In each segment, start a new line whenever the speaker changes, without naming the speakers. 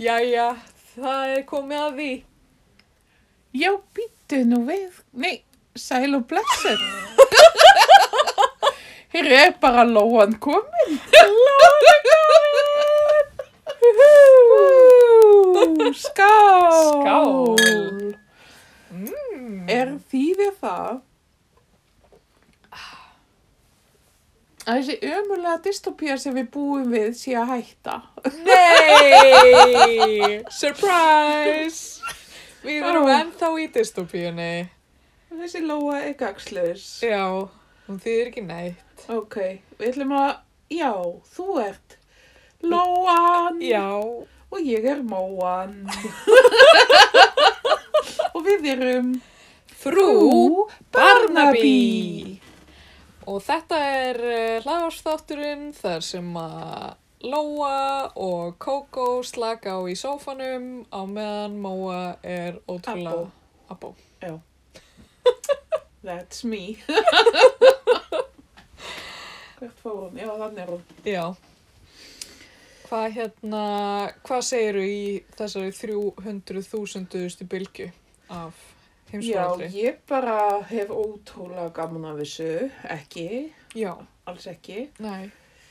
Jæja, það er komið að því.
Já, býttu nú við. Nei, sæl og blessur. Hér er bara lóan komin. Lóan komin! Skál!
Skál!
Er þýði það að þessi ömulega dystopía sem við búum við sé að hætta?
Nei! Surprise! Við erum
Ó.
ennþá í dystopíunni.
Þessi lóa er gagslaus.
Já, hún þýðir ekki neitt.
Ok, við ætlum að, já, þú ert lóan
Já,
og ég er móan. og við erum
frú Barnaby. Og þetta er hlaðarsþátturinn þar sem að Lóa og Kókó slaka á í sófanum á meðan Móa er ótrúlega... Abbo.
That's me. Hvert fór hún? Já, þannig er hún.
Já. Hvað hérna, hvað segiru í þessari 300.000. bylgu af
Já,
heimsfaraldri?
ég bara hef ótrúlega gaman af þessu, ekki,
Já,
alls ekki.
nei,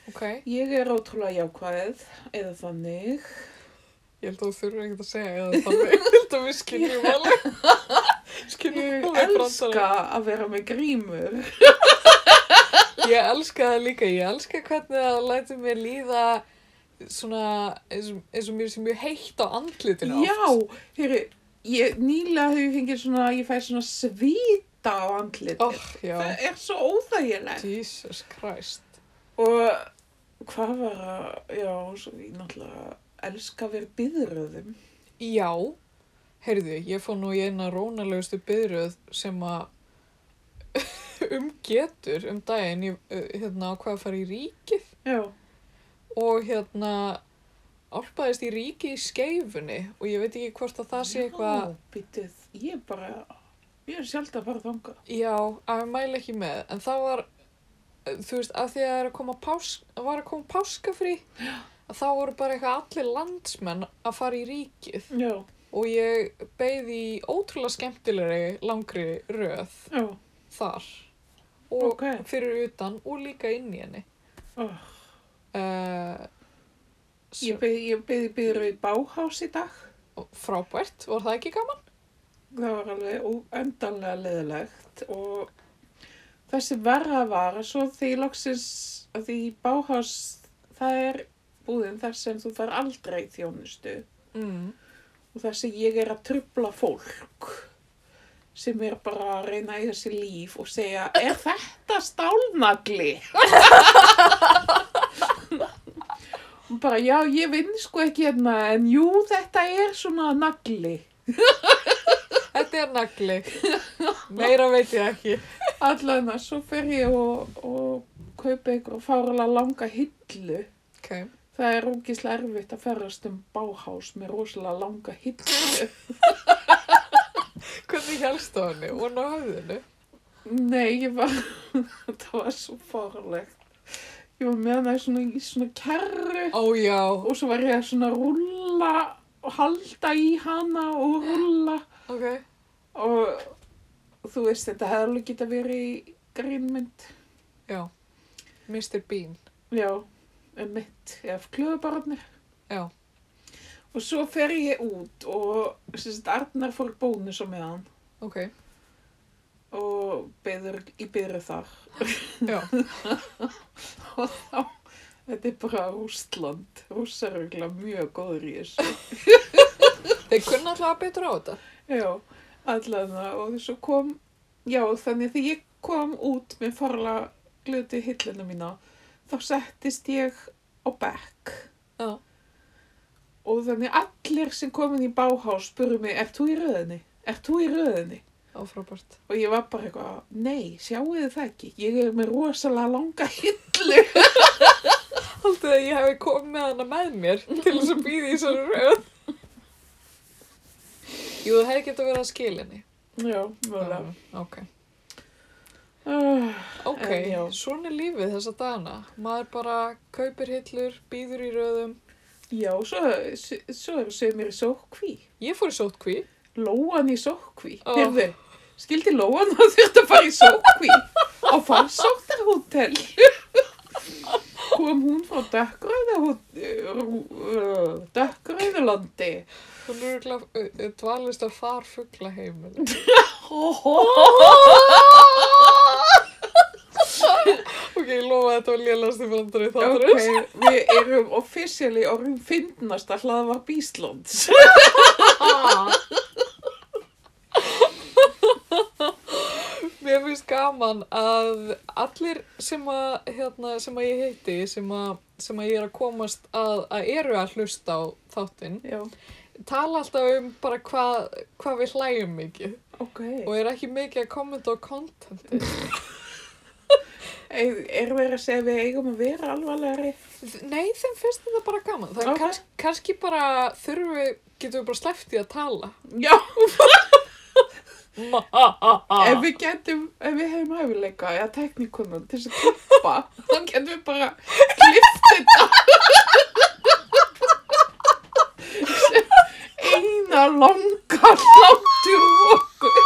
ok.
Ég er ótrúlega jákvæð, eða þannig.
Ég held að þú þurfir ekkert að segja eða þannig. Ég held að við skiljum alveg.
Ég
skiljum alveg
elska
brandarinn.
að vera með grímur.
Ég elska það líka, ég elska hvernig það lætur mér líða svona eins og, eins og mér sem mjög heitt á andlitinu oft.
Já, heyrðu, ég nýlega hef ég fengið svona, ég fæ svona svita á andlit.
Ó, Oh, já.
Það er svo óþægilegt.
Jesus Christ.
Og hvað var að, já, svo ég náttúrulega elska að vera byðröðum.
Já, heyrðu, ég fór nú í eina rónalegustu byrjuð sem að um getur um daginn, ég, uh, hérna, hvað að fara í ríkið
Já,
og hérna álpaðist í ríki í skeifunni og ég veit ekki hvort að það sé eitthvað,
Já, býtið, ég bara, ég er sjálf að fara þangað.
já, að ég mæla ekki með, en það var, uh, þú veist, að því að það er að koma pás, var að koma páskafrí, að þá voru bara eitthvað allir landsmenn að fara í ríkið.
Já,
og ég beið í ótrúlega skemmtilegri langri röð
já.
þar og
Ókei.
fyrir utan og líka inn í henni
Oh,
uh,
ég beði ég beði byrður í báhás í dag.
frábært, var það ekki gaman?
Það var alveg óendanlega leðilegt og þessi verra var að svo því loksins að því báhás það er búðin þar sem þú fær aldrei þjónustu
Mm.
og þessi ég er að trubla fólk sem er bara að reyna í þessi líf og segja er þetta stálnagli? Og bara já ég vinn sko ekki hérna en jú þetta er svona nagli.
Þetta er nagli meira veit ég ekki
Allan að svo fer ég og, og kaupi ykkur og fárlega langa hillu.
okay.
Það er ógislega erfitt að ferðast um báhás með rosalega langa hillu.
hvernig helst á henni og ná höfðinu
Nei, ég var, það var svo fárlegt. Ég var með hana í svona, í svona kerru
ó já,
og svo var ég að svona rúlla og halda í hana og rúlla.
ok
Og þú veist, þetta hefði alveg geta verið í grínmynd.
já. Mr. Bean
Já, um mitt, ef klöðubarnir.
já,
Og svo fer ég út og sérst, Arnar fór í bónus á meðan
ok
og beður, ég beður þar.
já.
Og þá, þetta er bara Rústland. Rússar eru örugglega mjög góður í þessu.
þeir kunna alltaf betra á þetta
Já, allan það. Og svo kom, já þannig þegar ég kom út með farla glötu hillina mína, þá settist ég á bekk.
Já.
Og þannig allir sem komin í báhás spurðu mig, ert þú í röðinni? Ert þú í röðinni?
á frábært
Og ég var bara eitthvað, nei, sjáu þið það ekki, ég er með rosalega langa hillu.
Haldið að ég hefði komið hana með mér til þess að býða í svona röð. Jú, það hefði getað verið að skilja henni.
Já, mjögulega.
Ok.
Uh,
Ok,
En já.
svona er lífið þessa dagana. Maður bara kaupir hillur, býður í röðum,
Já, svo, s- svo eru sömur í sókví.
Ég fór í sótkví.
Lóan í sókví.
Ó.
Oh. Heyrðu, skildi Lóan að þurfti að fara í sókví á farsóttarhótel. Kom hún frá dökkröðulandi.
Hún er örugglega dvalist að far fugla heimil. Ok, ég lofa að þetta var lélasti brandari þáttur.
Ok, við erum officially orðin fyndnasta hlaðvarp Íslands.
Mér finnst gaman að allir sem að, hérna, sem að ég heiti, sem að, sem að ég er að komast að, að eru að hlusta á þáttinn,
Já,
tala alltaf um bara hvað hva við hlæjum mikið
ok.
og er ekki mikið að kommenta á kontenti.
Ey, Erum við að segja að við eigum að vera alvarlegari?
Nei, þeim finnst þetta bara gaman. Það er
Ok.
kannski, kannski bara þurfum við, getum við bara sleppt í að tala.
Já, ef
Ef
við getum, ef við hefum hæfileika eða teknikunan til þess að klippa, þá getum við bara klippt þetta. Eina langa hláttur okkur.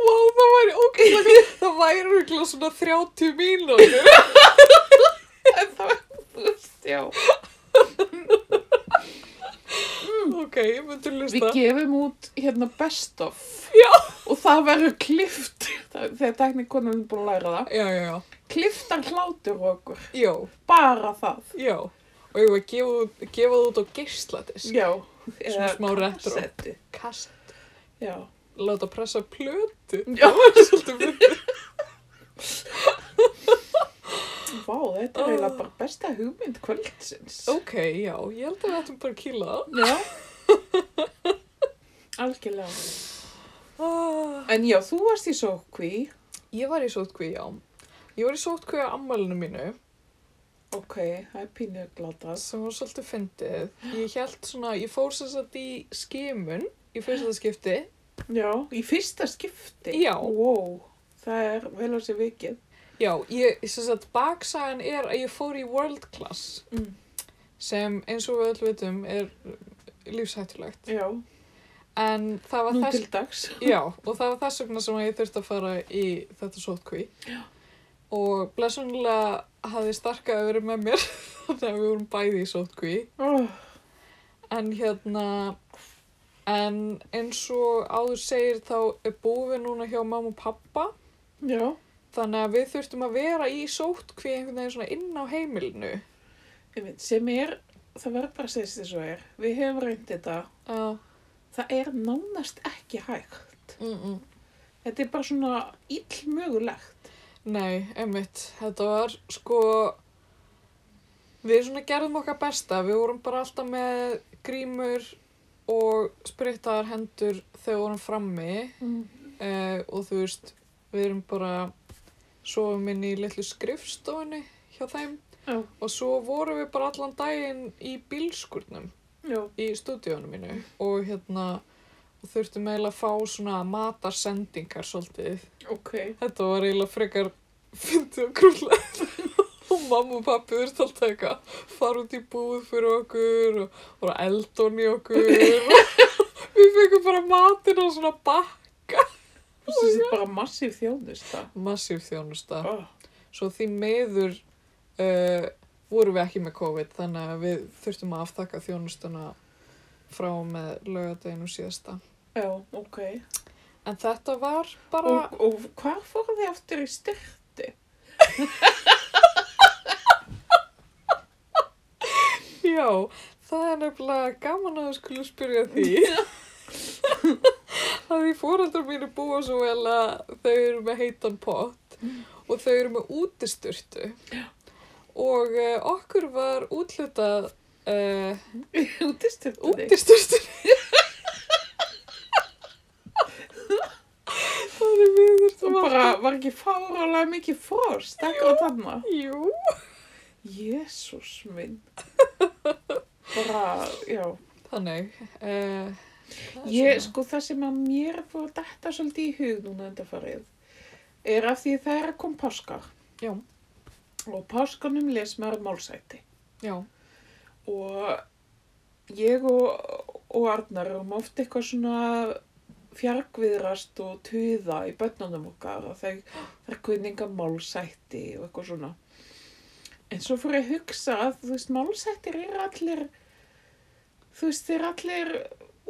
Vá, það væri ógæðlega, það væri rúglega svona 30 mínútur.
En það var, þú veist, já.
ok, ég myndi
Við
hlusta.
gefum út hérna best of
Já.
og það verður klift þegar teknikonan er búin að læra það
Já, já, já.
kliftar hlátur okkur,
Já,
bara það
já. Og ég var að gefa, út- gefa það út á geisladisk.
já,
Svona smá retro.
kassetti.
Kast.
já,
Láta pressa plötu.
Já.
Það væri svolítið fyrir.
vá, þetta er eiginlega bara besta hugmynd kvöldsins
Ok, já, ég held að við ættum bara að kýla það.
já algjörlega
Ah.
en já, þú varst í sókví
Ég var í sótkví, já. Ég var í sótkví á ammælinu mínu
ok, það er pínu glatað
sem var svolítið fyndið. Ég held svona, ég fór sem sagt í skimun í fyrsta skipti.
já, í fyrsta skipti
Já.
wow, það er vel á sér vikið
Já, ég, sem sagt, baksagan er að ég fór í world class
Mm.
sem eins og við öll vitum er lífshættulegt.
já,
En það var
nú
þess,
til dags
já, og það var þess vegna sem ég þurfti að fara í þetta sótkví. Já. Og blessunlega hafði starkaði verið með mér þannig að við vorum bæði í sótkví.
oh.
En hérna, en eins og áður segir þá er búið núna hjá mamma og pappa.
já
Þannig að við þurftum að vera í sótkví einhvern veginn svona inn á heimilinu.
Einmitt, sem er, það verður bara að segja þess að er, við hefum reyndið þetta,
Já,
það er nánast ekki hægt.
mm -mm.
Þetta er bara svona illmögulegt.
Nei, einmitt, þetta var sko, við svona gerðum okkar besta, við vorum bara alltaf með grímur og sprittaðar hendur þegar við vorum frammi
Mm.
eh, og þú veist, við erum bara sofum inn í litlu skrifstofunni hjá þeim
Já,
og svo vorum við bara allan daginn í bílskurnum
já,
í stúdíónu mínu og hérna og þurftum eiginlega að fá svona matarsendingar svolítið
ok.
Þetta var eiginlega frekar fyndið og krúllegt og mamma og pappi þurfti alltaf eitthvað að fara út í búð fyrir okkur og voru að eldón í okkur og við fengum bara matinn á svona bakk
Þessi oh, er bara massíf þjónusta.
massíf þjónusta
Oh.
svo því meður uh, vorum við ekki með COVID þannig að við þurftum að aftakka þjónustuna frá og með lögadeginu síðasta
Já, ok.
en þetta var bara
Og, og hvað fór þið aftur í styrti?
Já, það er nefnilega gaman að þú skulle spyrja því. að því fóraldrar mínu búa svo vel að þau eru með heitan pott
Mm.
og þau eru með útisturtu. Og uh, okkur var útlutað uh,
Út í styrti?
útisturtunni. Þannig við
Og
þurftum að...
bara var ekki fárálega mikið frost, akkur að þarna.
Jú.
Jésús minn. Bara, já.
Þannig. Uh,
Ég, sko, það sem að mér er búið að detta svolítið í hug núna undanfarið er af því það er að kom páskar
Já.
og á páskanum les maður málsæti.
já,
og ég og, og Arnar erum oft eitthvað svona fjarkviðrast og tuða í börnunum okkar og þeir, þeir kunninga málsætti og eitthvað svona. En svo fór ég að hugsa að þú veist, málsættir eru allir, þú veist, þeir eru allir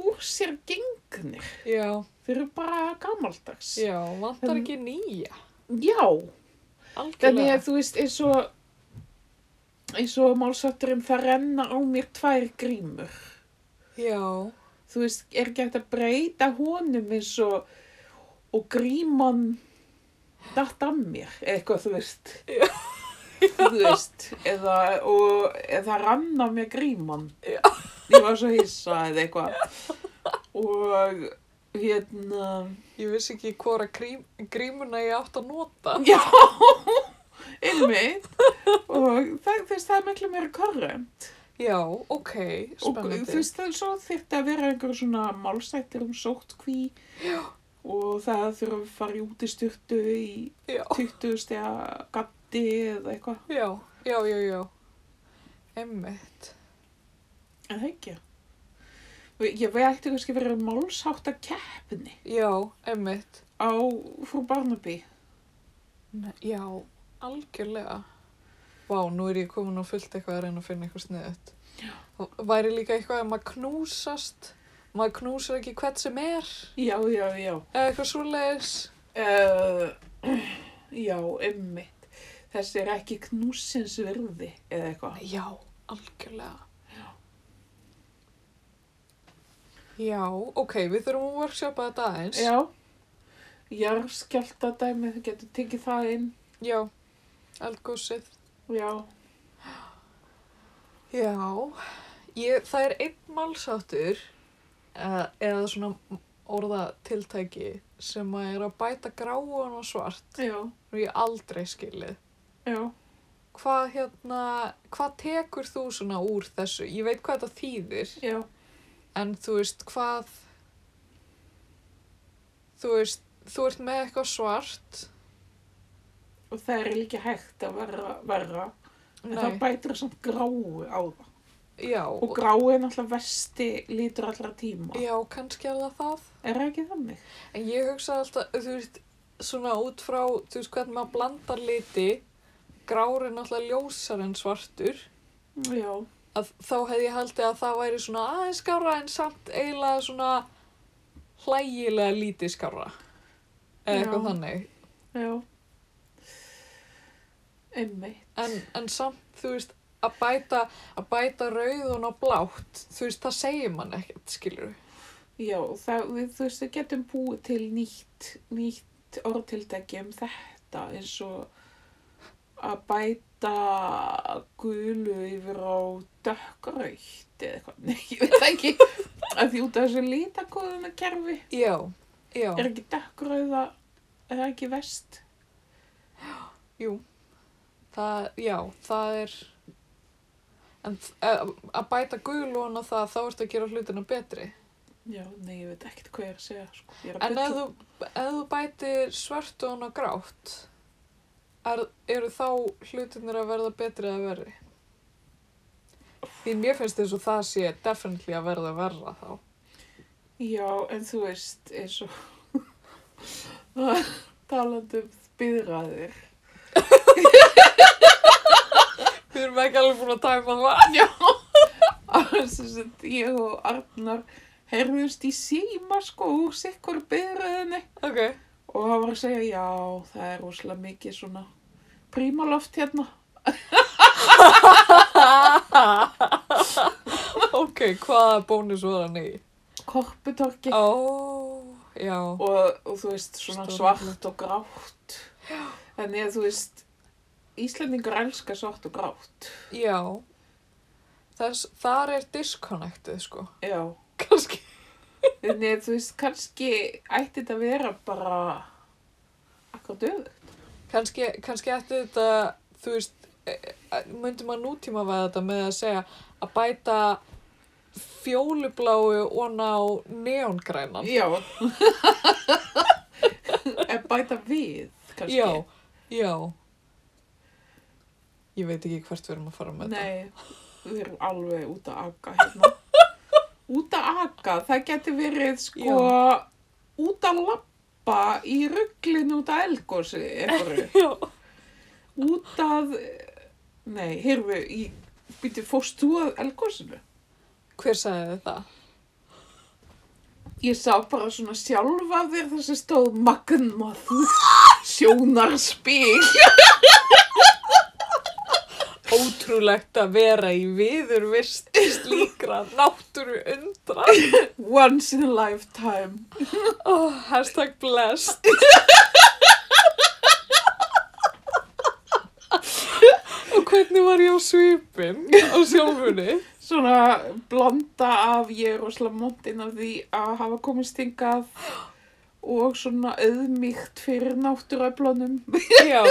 úr sér gengnir.
já,
Þeir eru bara gamaldags.
já, vantar
En-
ekki nýja,
Já. Þannig
algjörlega.
að þú veist, eins og, eins og málsátturinn það renna á mér tvær grímur.
Já,
Þú veist, er ekki hægt að breyta honum eins og, og gríman datt af mér, eða eitthvað, þú veist.
Já.
Þú veist, eða, og, eða rann á mér gríman.
Já.
Ég var svo hissa eða eitthvað. Og, hérna,
ég vissi ekki hvora grím, grímuna ég átt að nota.
já, einmitt. Og það, þú veist, það er miklu meira korrent.
Já, ok,
og
spennandi.
þú veist það er svo þyrfti að vera einhver svona málsættir um sóttkví og það þurfa að fara í út í styrtu í
Já,
20 stega gatti eða eitthvað
já, já, já, já. Emmitt.
en það ekki Og ég veit ekki kannski verið málsátt að keppni
Já, emmitt.
á frú Barnaby
Ne- Já, algjörlega. Vá, nú er ég komin og fullt eitthvað að reyna að finna eitthvað sniðut. Já. Væri líka eitthvað að maður knúsast, maður knúsar ekki hvert sem er,
já, já, já
eða eitthvað svoleiðis.
uh, já, emmitt þessi er ekki knúsins virði eða eitthvað
Já, algjörlega. Já, ok, við þurfum að workshopa þetta aðeins.
já, jarðskjálta dæmi þú getur tekið það inn
Já, eldgósið.
já,
Já, ég, það er einn málsáttur uh, eða svona orðatiltæki sem að er að bæta gráan og svart
já,
og ég aldrei skilið.
já
Hvað hérna, hvað tekur þú svona úr þessu? Ég veit hvað þetta þýðir
Já,
en þú veist hvað, þú veist, þú ert með eitthvað svart.
og það er líka hægt að verra, verra. en það
Nei,
bætir samt gráu á það.
já,
Og gráu er náttúrulega vesti lítur allra tíma.
já, kannski er það það.
Er það ekki þannig?
En ég hugsaði alltaf, þú veist, svona út frá, þú veist, hvernig maður blandar liti, grár er náttúrulega ljósar en svartur,
Já,
að þá hefði ég haldið að það væri svona aðeins skára en samt eiginlega svona hlægilega lítið skára. Eða eitthvað
Já.
þannig.
já. Einmitt.
En, en samt, þú veist, að bæta, að bæta rauðun og blátt, þú veist, það segir mann ekkert, skilur við.
Já, og það, við, þú veist, við getum búið til nýtt, nýtt orðtildæki um þetta eins og að bæta gulu yfir á dökkraut eða eitthvað. Nei, ég veit það ekki. Að því út af þessu lítakóðunarkerfi.
Já, já,
Er ekki dökkrauða, er það ekki vest?
það, já, það er... En þ- að að bæta gulun og það, þá ertu að gera hlutina betri.
Já, nei, ég veit ekkert hvað ég er að segja, sko. Ég er að
En ef
bulla.
þú, ef þú bætir svörtun og grátt, er, eru þá hlutinir að verða betri eða verri? Því mér finnst þess að það sé definitely að verða verra þá.
Já, en þú veist, eins og talandi um byðraðir.
Við erum ekki alveg búin að tæma það.
Sett, ég og Arnar heyrðumst í síma, sko, úr sikkur byðraðinni.
Ok,
Og hann var að segja, já, það er rosalega mikið svona prímaloft hérna.
ok, hvaða bónus var hann í?
Korputorki.
Ó, já,
og, og þú veist, svona
Stórhættulegt.
svart og grátt. Þannig að þú veist, Íslendingur elskar svart og grátt.
já. Þess, þar er disconnectið, sko.
Já,
Kanski.
þannig að þú veist, kannski ætti þetta að vera bara um- akkur döðu.
Kanski, kannski ætti þetta, þú veist, e, myndi maður nútíma veða þetta með að segja að bæta fjólubláu og ná neongrænan.
Já. en bæta við, kannski.
Já, já. Ég veit ekki hvert við erum að fara með þetta.
Nei, við erum alveg út að aga hérna. út að aga, það geti verið sko út að lappa í rugglinu út að elgósi einhverju.
Já.
Út að, nei, heyrðu, í, býttu, fórst þú að elgósinu?
Hver sagði þér það?
Ég sá bara svona sjálfa þér þessi stóð magnmað sjónarspil.
Ótrúlegt að vera í viður vist slíkra náttúru undra.
Once in a lifetime.
Oh, hashtag blessed. Og hvernig var ég á svipin á sjálfunni?
svona blanda af ég er rosalega móntinn af því að hafa komist hingað og svona auðmíkt fyrir náttúröflunum.
Já,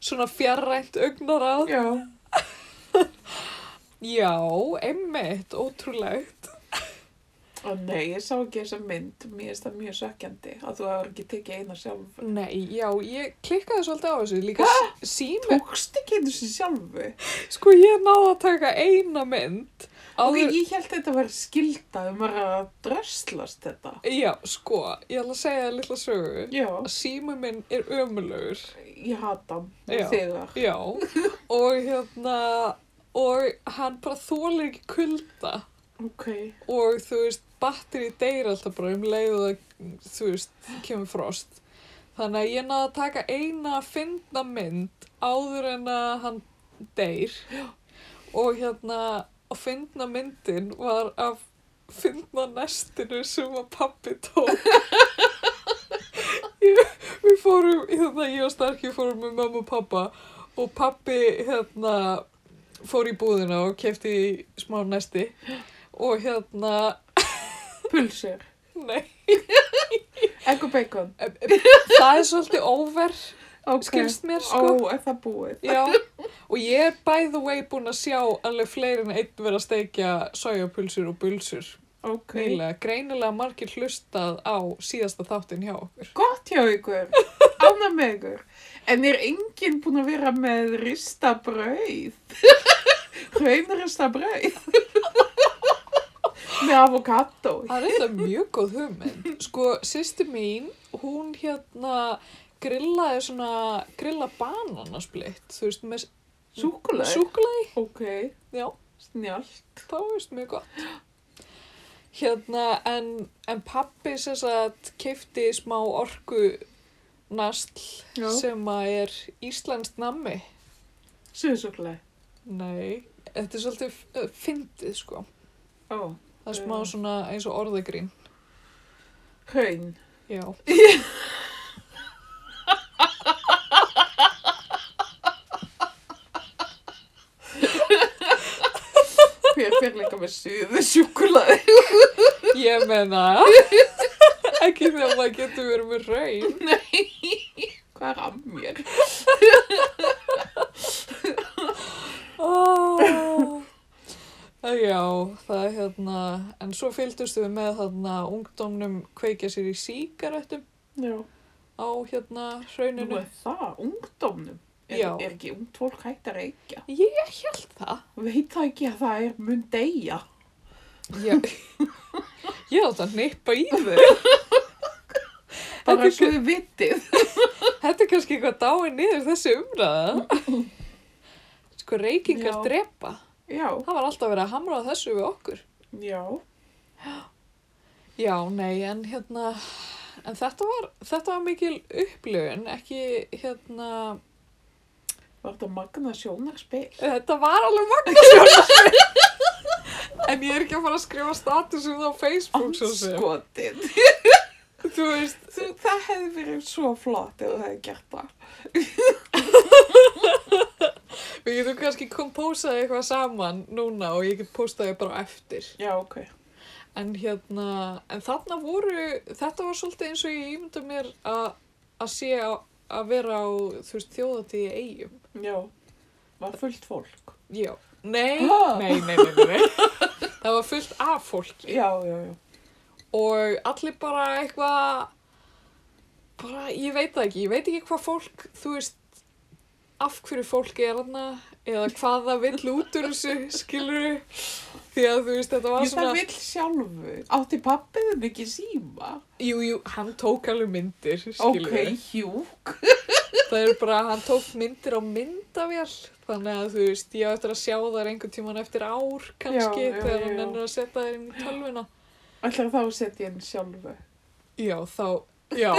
svona fjarrænt augnaráð.
Já.
Já, einmitt, ótrúlegt.
Og nei, ég sá ekki þessa mynd, mér finnst það mjög sökkjandi að þú hefur ekki tekið eina sjálf.
Nei, já, ég klikkaði svolítið á þessu. Líka sími.
Tókst ekki einu sér sjálfu.
Sko, ég náði að taka eina mynd.
Og
Áður,
ég held þetta að vera skilda um að dröslast þetta.
Já, sko, ég ætla að segja það lilla sögu.
Já,
Sími minn er ömulegur.
ég hata hann
Já.
þegar.
Já, og hérna, og hann bara þólir ekki kulda
Ok,
og þú veist, batteri deyr alltaf bara um leið og það, þú veist, kemur frost. Þannig að ég náði að taka eina að finna mynd áður en að hann deyr og hérna, að finna myndin var að finna nestinu sem að pappi tók. ég, við fórum, hérna, ég og Starki fórum með mamma og pappa og pappi, hérna, fór í búðina og kefti smá nesti og hérna,
pulsir.
nei,
Egg og bacon.
það er svolítið over,
Ok.
skilst mér sko.
Ó, er það búið?
Já, og ég er by the way búin að sjá alveg fleiri en einn vera að steikja sojapulsur og bulsur.
Ok.
Nýlega, greinilega margir hlustað á síðasta þáttinn hjá okkur.
Gott hjá ykkur, ánæg með ykkur. En er enginn búinn að vera með rista brauð? Hraunrista brauð? með avokado?
Það er þetta mjög góð hugmynd. Sko, sýsti mín, hún hérna grillaði svona, grilla bananasplitt, þú veist, með
Súkuleg?
súkulæði,
ok,
já.
snjált.
þá veist mjög gott hérna en, en pappi sem sagt keipti smá orku nastl
Já.
sem að er íslenskt nammi
Suðsúkuleg?
nei, þetta er svolítið uh, fyndið sko,
Ó,
það er smá
Já.
svona eins og orðagrín
hraun.
já,
Hver fyrir líka með suðsúkuleg?
ég meina ekki þegar maður getur verið með raun
Hvað er að mér?
oh. já, það er hérna en svo fylgdust við með þarna ungdómnum kveikja sér í síkaretum
Já,
á hérna
nú
hrauninu.
er það, ungdómnum. Er,
Já.
er ekki ungd fólk hægt að reykja?
Ég held það.
Veit það ekki að það er mun deyja?
Ég, ég átt að neypa í þau. Þetta
Bara
er,
svo þið vitið.
þetta er kannski eitthvað dáin niður þessi umræða. Sko reykingar
Já.
drepa.
Já,
Það var alltaf verið að hamra á þessu við okkur.
já.
Já, nei, en hérna, en þetta var, þetta var mikil upplifun, ekki hérna,
Var þetta magna sjónarspil?
þetta var alveg magnasjónasvið. en ég er ekki að fara að skrifa status um það á Facebook svo sem.
Anskotin.
Þú veist,
Þú- Það hefði verið svo flott ef þú hefði gert það.
Við getum kannski kompósað eitthvað saman núna og ég get póstað þið bara á eftir.
Já, ok.
En hérna, en þarna voru, þetta var svolítið eins og ég ímynda mér að að sé á, að vera á, þú veist, þjóðatíði eigum.
Já. Var fullt fólk.
Já. Nei,
Ha?
nei, nei, nei, nei, nei. Það var fullt af fólki
Já, já, já.
og allir bara eitthvað, bara, ég veit það ekki, ég veit ekki hvað fólk, þú veist, af hverju fólki er þarna, eða hvað það vill út úr þessu, skilur því að þú veist, þetta var
Ég það
svona
vill sjálfur. Átti pappiðin ekki síma?
jú, jú, hann tók alveg myndir skilur,
Ok, hjúk.
það er bara, hann tók myndir á myndavél þannig að þú veist, ég á eftir að sjá þær einhvern tíman eftir ár kannski,
Já, já,
þegar hann
já.
ennur að setja þær inn í tölvuna
Ætlar þá að setja inn sjálfur.
já, þá, já,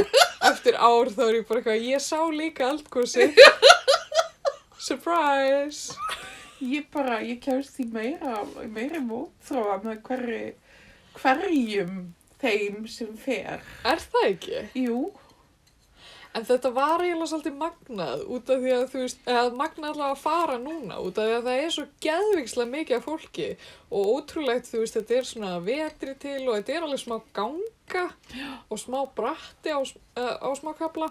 eftir ár þá er ég bara eitthvað, ég sá líka eldgósi surprise
Ég bara, ég kemst því meira, meiri mótþróa með hverri, hverjum þeim sem fer.
er það ekki?
Jú,
En þetta var eiginlega svolítið magnað út af því að þú veist, eða magnað allavega að fara núna út af því að það er svo geðvikslega mikið af fólki og ótrúlegt þú veist, þetta er svona vetri til og þetta er alveg smá ganga og smá bratti á, s- eh, á smá kapla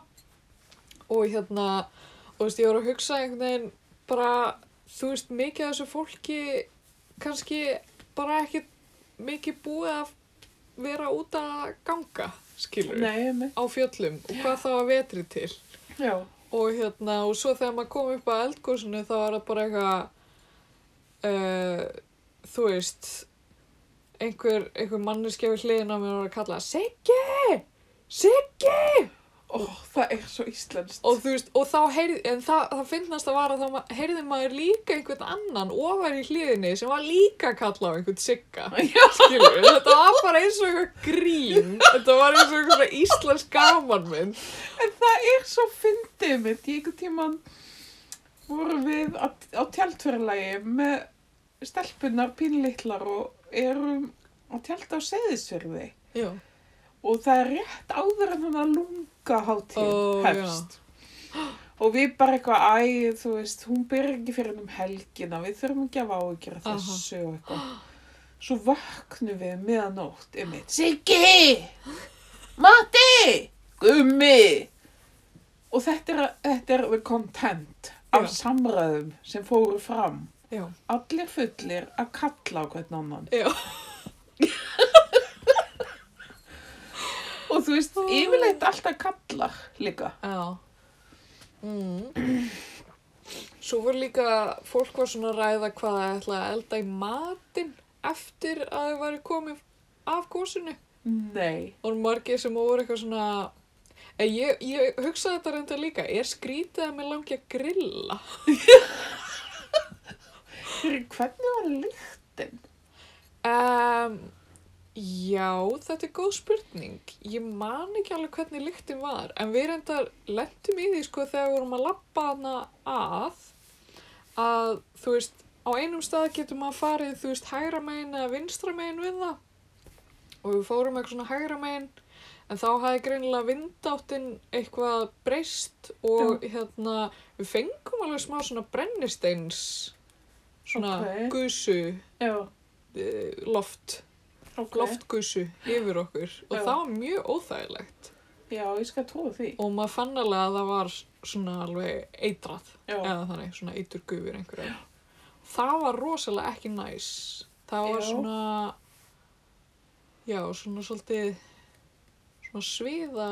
og hérna, og þú veist, ég voru að hugsa einhvern veginn bara, þú veist, mikið af þessu fólki kannski bara ekki mikið búið að vera út að ganga, skilur
nei, emi.
á fjöllum og hvað þá að vetri til
Já,
og hérna og svo þegar maður kom upp að eldgósinu þá var það bara eitthvað uh, þú veist einhver, einhver manneskja við hliðin á mér og var að kalla Siggi! Siggi!
ó, það er svo íslenskt.
Og þú veist, og þá heyrði, en það, það finnast að vara að þá ma- heyrði maður líka einhvern annan ofar í hliðinni sem var líka að kalla á einhvern Sigga
Já,
skilur, þetta var bara eins og eitthvað grín, þetta var eins og eitthvað íslensk gamanmynd
en það er svo fyndið mitt. Ég einhvern tíman vorum við á, á tjaldfjörlægi með stelpunar pínlitlar og erum á tjald á seðisverði.
Já.
Og það er rétt áður en hann að lunga hátíð
Ó,
hefst. Og við bara eitthvað, æ, þú veist, hún byrjar ekki fyrir um helgina, við þurfum ekki að vágjara
Aha.
þessu og eitthvað. Svo vaknum við meðanótt, einmitt, Siggi, Matti, Gummi. Og þetta er, þetta er content af
Já.
samræðum sem fóru fram.
Já.
Allir fullir að kalla á hvern annan.
Já.
Og þú veist, yfirleitt alltaf kallar líka.
Já. Mm. Svo voru líka, fólk var svona að ræða hvað það ætlaði að elda í matinn eftir að þau væri komið af gósinu.
Nei.
Og margir sem voru eitthvað svona, en ég, ég hugsaði þetta reynda líka, er skrítið að mér langi að grilla?
Fyrir hvernig var lyktin?
Um, já, þetta er góð spurning. Ég man ekki alveg hvernig lyktin var, en við reyndar lentum í því sko þegar við vorum að labba hana að, að þú veist, á einum stað getur maður farið, þú veist, hægra megin eða vinstra megin við það og við fórum eitthvað svona hægra megin en þá hafði greinilega vindáttin eitthvað breyst og hérna, við fengum alveg smá svona brennisteins svona
Ókei.
gusu
Já,
eh, loft,
ok.
loftgusu yfir okkur og
Já.
það var mjög óþægilegt
Já, ég skal trúa því.
og maður fann alveg að það var svona alveg eitrað
Já,
eða þannig, svona eitur gufur einhverja það var rosalega ekki næs það var
Já.
svona já, svona svolítið svona sviða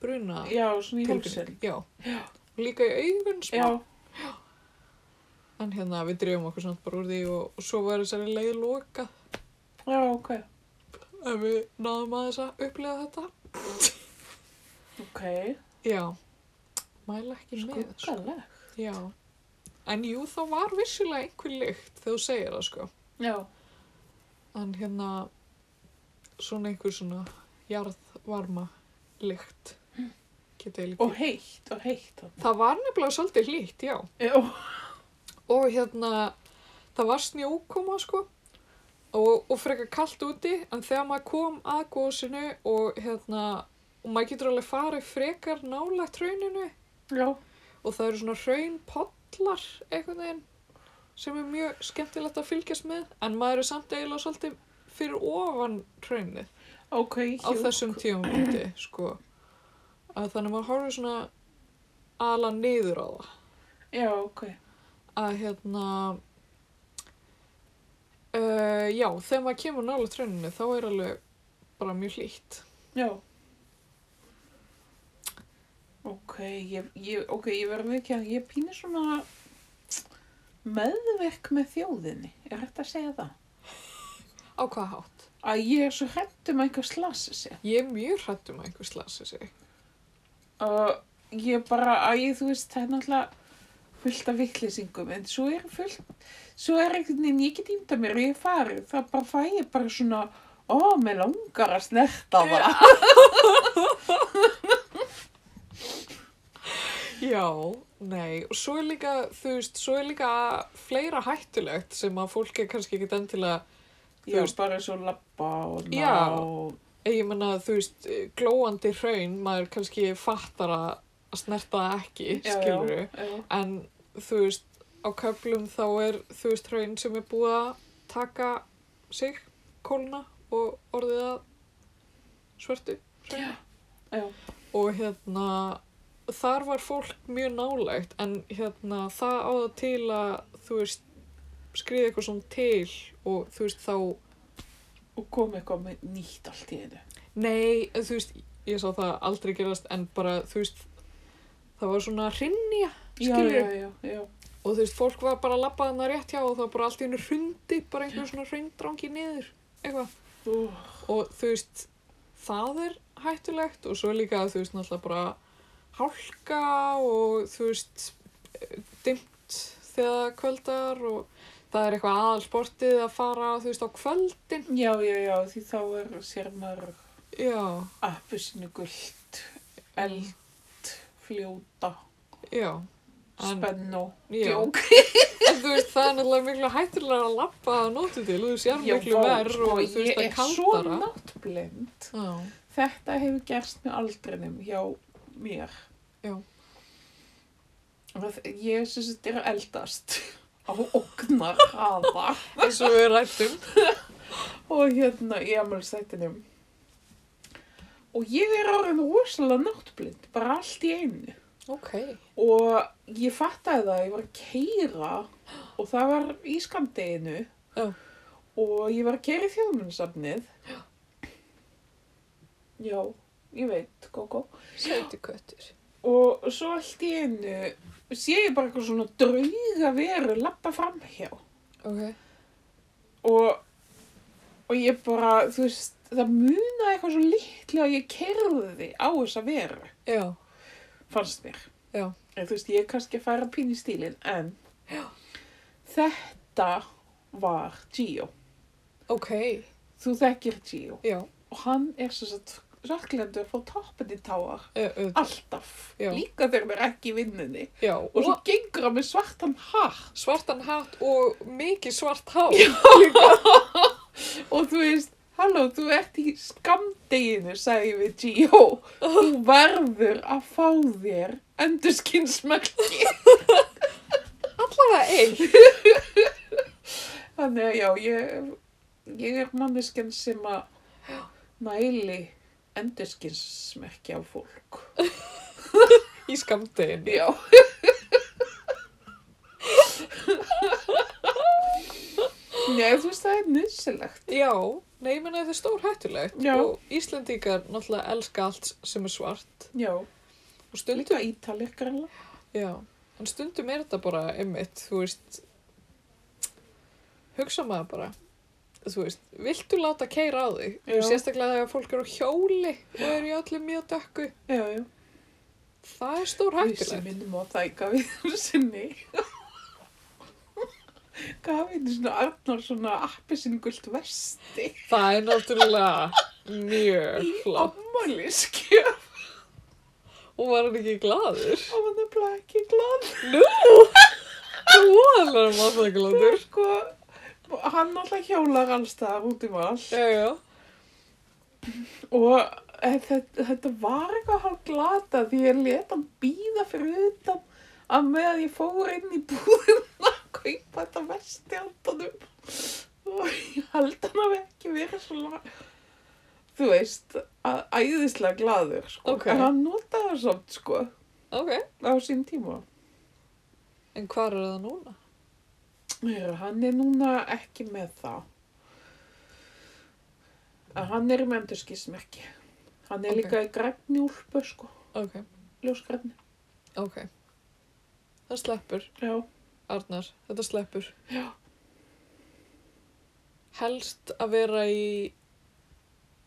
bruna
já svona í
tilfinning.
hálsinn.
já. líka í augun smá
Já,
en hérna við drefum okkur samt bara úr því og, og svo var þessari leið lokað
já, ok.
ef við náðum aðeins að upplifa þetta
Ok,
Já, mæla ekki með sko.
skuggaleg.
Já, en jú þá var vissulega einhver lykt þegar þú segir það sko.
Já,
En hérna, svona einhver svona jarðvarma lykt, get ég líka.
og heitt, og heitt.
Það var nefnilega svolítið hlýtt, já.
Já,
Og hérna, það var snjókoma sko og, og frekar kallt úti en þegar maður kom að góðsynu og hérna, og maður getur alveg farið frekar nálægt rauninu
já,
og það eru svona hraunpollar einhvern veginn sem er mjög skemmtilegt að fylgjast með en maður er samt eiginlega svolítið fyrir ofan hraunið
ok,
á
hjúk.
þessum tíum myndi sko að þannig maður horfir svona ala niður á það
Já, ok.
að hérna uh, já þegar maður kemur nála hrauninu þá er alveg bara mjög hlýtt
Já. Ok, ég, ég, okay, ég verður ekki að ég er pínu svona meðverk með þjóðinni, er hægt að segja það?
Á hvað hátt?
Að ég er svo hrædd um að einhver slasi sig.
Ég er mjög hrætt um að einhver slasi sig.
Og ég bara, að ég, þú veist, það er náttúrulega fullt af vitleysingum, en svo er fullt, svo er einhvern veginn, ég get ímda mér og ég farið, það bara fæ ég bara svona, ó, mér langar að snerta það.
Já, nei, og svo er líka, þú veist, svo er líka fleira hættulegt sem að fólk er kannski ekki endilega,
Já, bara svo labba og ná.
Já. eh, ég menna, þú veist, eh, glóandi hraun, maður kannski fattar að að snerta það ekki,
Já, já,
skilur
já.
en þú veist, á köflum þá er, þú veist, hraun sem er búið að taka sig, kólna og orðið að svörtu hraun.
Já,
og hérna þar var fólk mjög nálægt en hérna það áða til að þú veist skriði eitthvað svona til og þú veist þá
og kom eitthvað með nýtt allt í einu.
nei, en þú veist ég sá það aldrei gerast en bara þú veist það var svona hrinnja
Já,
Skilurðu?
já, já, já.
og þú veist fólk var bara að labba þarna rétt hjá og það var bara allt í hennu hrundi bara einhver svona hrundrangi niður eitthvað
Ú,
og þú veist það er hættulegt og svo líka þú veist náttúrulega bara hálka og þú veist dimmt þegar kvöldar og það er eitthvað aðal sportið að fara þú veist á kvöldin
já, já, já, því þá er sér maður
já,
appusinu gullt, eld, fljóta,
já En-
spennu,
já.
djók.
en þú veist það er náttúrulega miklu hættulega að lappa að nóti til þú sér miklu
vá,
verð
sko,
og þú veist
ég
það
er svo
kaldara
náttblind.
já,
Þetta hefur gerst með aldrinum hjá mér.
Já.
Og það- Ég syns þetta er að eldast á oknar hraða.
eins og við um. rættum
og hérna í ammalstættinum og ég er orðin rosalega náttblind bara allt í einu
ok,
og ég fattaði það, ég var að keira og það var í skamdeginu
Já.
og ég var að keira í þjóðmunnsafnið já, ég veit, gógó
sæti köttur
og svo allt í einu sé ég bara eitthvað svona drauga veru lappa framhjá
ok,
og, og ég bara, þú veist, það munaði eitthvað svo litlu að ég kerði á þessa veru,
já,
fannst mér.
Já.
En þú veist, ég er kannski að fara pín í stílinn, en þetta var Gio.
ok
Þú þekkir Gio
já,
og hann er svo satt sorglendur frá toppandi táar
eh, auðvitað.
alltaf,
Já.
líka þegar mér ekki í vinnunni.
já,
Og svo gengur hann með svartan hatt
svartan hatt og mikið svart hár.
Og þú veist, halló, þú ert í skamdeginu, sagði ég við Gio. Þú verður að fá þér endurskinsmerki.
Allavega eitt.
Þannig að já, ég, ég er manneskjan sem að næli endurskinsmerki á fólk.
Í skamdeginu.
Já. Nei, þú veist, það er nýsilegt.
Já, nei, ég menna þetta er stór hættulegt.
Já.
Og Íslendingar náttúrulega elska allt sem er svart.
Já,
Og stundum,
líka ítalir greinlega.
já, en stundum er þetta bara einmitt, þú veist, hugsa maður bara. Þú veist, viltu láta keira á þig?
Já.
Sérstaklega þegar fólk eru á hjóli og eru í allir mjög dökku.
Já, já.
Það er stór
Við sem
hættulegt.
minnum á það í Gavíður sinni. Gavíður svona Arnar svona appisingult vesti
Það er náttúrulega mjög
í
flott.
ammaliski og
Og var hann ekki glaður?
hann er bara ekki glad.
Það voðalega maðurglandur.
Sko, hann alltaf hjólar allstaðar út um all
Já, já.
og þetta, þetta var eitthvað hálf glata því ég let hann býða fyrir utan að með að ég fór inn í búðina að kaupa þetta vesti andanum og ég held hann hafi ekki verið svona þú veist, að, æðislega glaður sko.
Ok.
en hann notaði það samt sko
Ok.
á sín tíma
En hvar er það núna?
Heru, hann er núna ekki með það að hann er með endurskismerki hann er
Ok.
líka í grænni úlpu sko,
Ok,
ljósgrænni
ok. Það sleppur.
já
Arnar, þetta sleppur.
Já.
Helst að vera í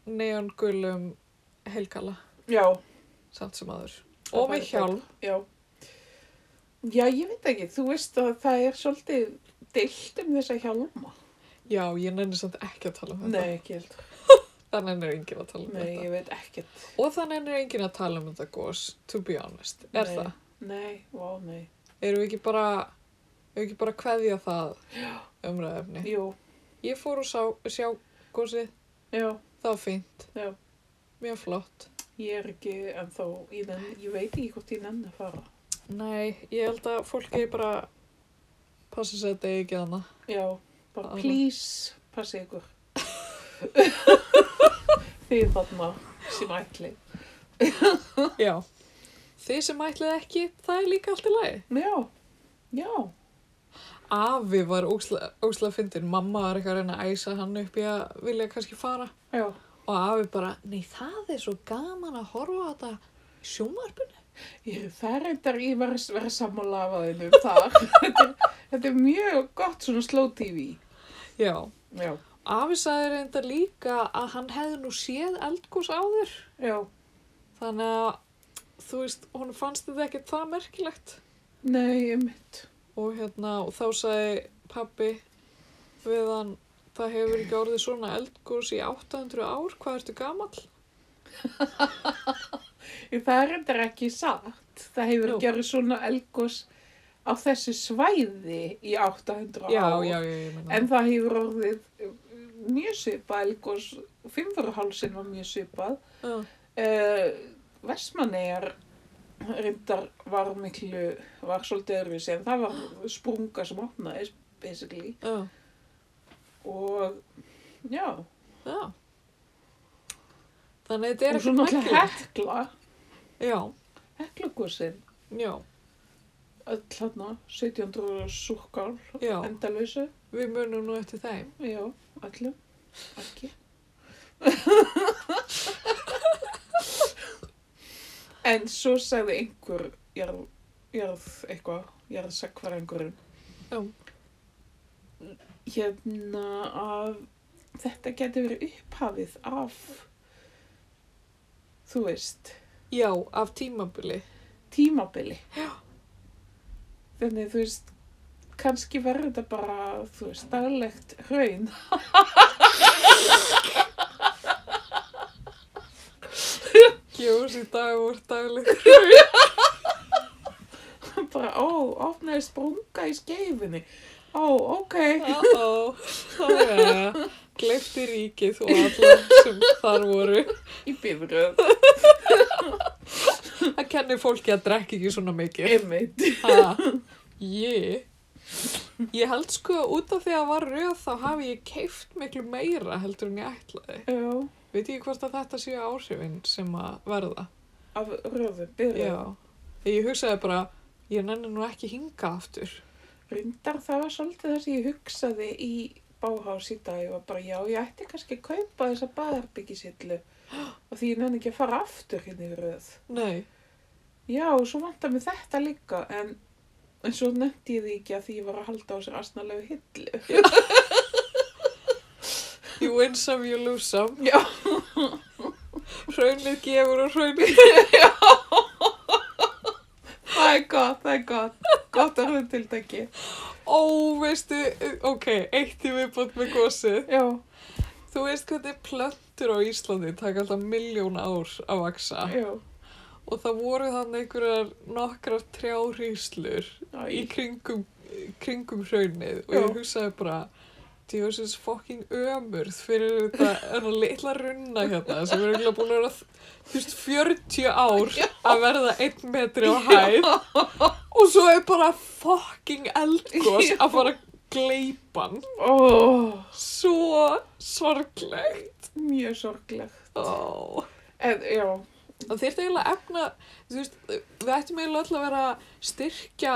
neongulum heilkala,
Já,
samt sem aður.
Það
Og
væri
með hjálm.
já. Já, ég veit ekki, þú veist að það er svolítið deilt um þessa hjálma.
Já, ég nenni samt ekki að tala um þetta.
Nei, ekki held.
Það nennir enginn að tala um
Nei,
þetta.
ég veit ekkert.
Og það nennir enginn að tala um þetta gos, to be honest. Er
Nei.
það?
Nei, vá, nei.
Erum við ekki bara, erum við ekki bara að kveðja það umræðefni?
Jú,
Ég fór og sá, sjá gósið,
já,
það var fínt.
Já.
Mjög flott.
ég er ekki en þó, ég, nenn, ég veit ekki hvort ég nenni að fara.
Nei, ég held að fólki bara passa sér að þetta eigi ekki annað.
Já, bara
Alveg.
please, passi ykkur. Þið þarna sem ætli.
Já. Þið sem ætlið ekki, það er líka allt í lagi.
Já, já,
Afi var ósla, ósla fyndin, mamma var eitthvað að reyna að æsa hann upp í að vilja kannski fara.
já.
Og afi bara, nei það er svo gaman að horfa á þetta í sjónvarpinu.
Ég, það er eitthvað, ég var að vera sammála af aðeinu um þar. þetta, er, þetta er mjög gott svona slow tv.
Já.
Já,
Afi sagði reynda líka að hann hefði nú séð eldgós áður.
já,
Þannig að, þú veist, hún fannst þetta ekkert það merkilegt.
nei, ég mitt.
Og hérna, og þá sagði pabbi við hann, það hefur ekki orðið svona eldgós í 800 ár, hvað ertu gamall?
Það er eitthvað ekki satt. Það hefur
Nú.
gerðið svona elgos á þessu svæði í 800
Já,
ár.
já, já, ég meina.
En það hefur orðið uh, mjög svipað elgos, fimmfurhálsin var mjög svipað.
En,
Uh, Vestmannegar reyndar var miklu, var svolítið öðruvísi en það var sprunga sem opnaðist basically
já, já,
og já,
já. Þannig að þetta er
og svo náttúrulega
merkilegt.
hekla,
Já,
heklagossin,
já,
öll hérna, 1700 og súrkál,
já,
endalösu,
við munum nú eftir þeim.
já, öllum, ekki. en svo sagði einhver, jarð, jarð eitthvað, jarð sakvarengurinn,
Já,
hérna að þetta getur verið upphafið af þú veist,
já, af tímabili.
tímabili Já. þannig þú veist kannski verður þetta bara þú veist, daglegt hraun
Jú, þessi dag voru daglegur.
bara, ó, opnaði sprunga í skeifinni ó, ok
Já, já, já. Gleifti ríkið og allar sem þar voru.
í bifröð,
Það kennir fólki að drekka ekki svona mikið.
einmitt
Ha, ég? Ég held sko að út af því að var röð þá hafi ég keift miklu meira heldur en ég ætlaði.
já,
Veit ég hvort að þetta séu áhrifin sem að verða?
af röðu, bifröð
Já. Þegar ég hugsaði bara, ég nenni nú ekki hinga aftur.
reyndar það var svolítið það sem ég hugsaði í báhás í dag ég var bara, já, ég ætti kannski að kaupa þessa baðarbyggisillu og því ég nenni ekki að fara aftur hérna í röð
Nei,
já, og svo vantar mér þetta líka en, en svo nefndi ég því ekki að því ég var að halda á sér asnalegu hillu
you win some, you lose some.
já,
Hraunlið gefur og hraunlið.
það er gott, það er gott gott að röð tiltæki
Ó, veistu, ok, eitt í viðbót með gósið.
já,
Þú veist hvernig plöntur á Íslandi taka alltaf miljón ár að vaksa.
já,
Og það voru þannig einhverjar nokkrar trjárýslur í
Æ,
kringum, kringum hraunið og
Já.
ég hugsaði bara djósins fucking ömurð fyrir þetta þennan litla runna hérna sem er eiginlega búin að vera þú veist 40 ár að verða 1 metri á hæð og svo er bara fucking eldgós að fara að gleypa hann
ó,
svo sorglegt
mjög sorgleg
oh.
en, já,
Það þyrfti eiginlega að efna, þú veist, við ættum eiginlega öll að vera að styrkja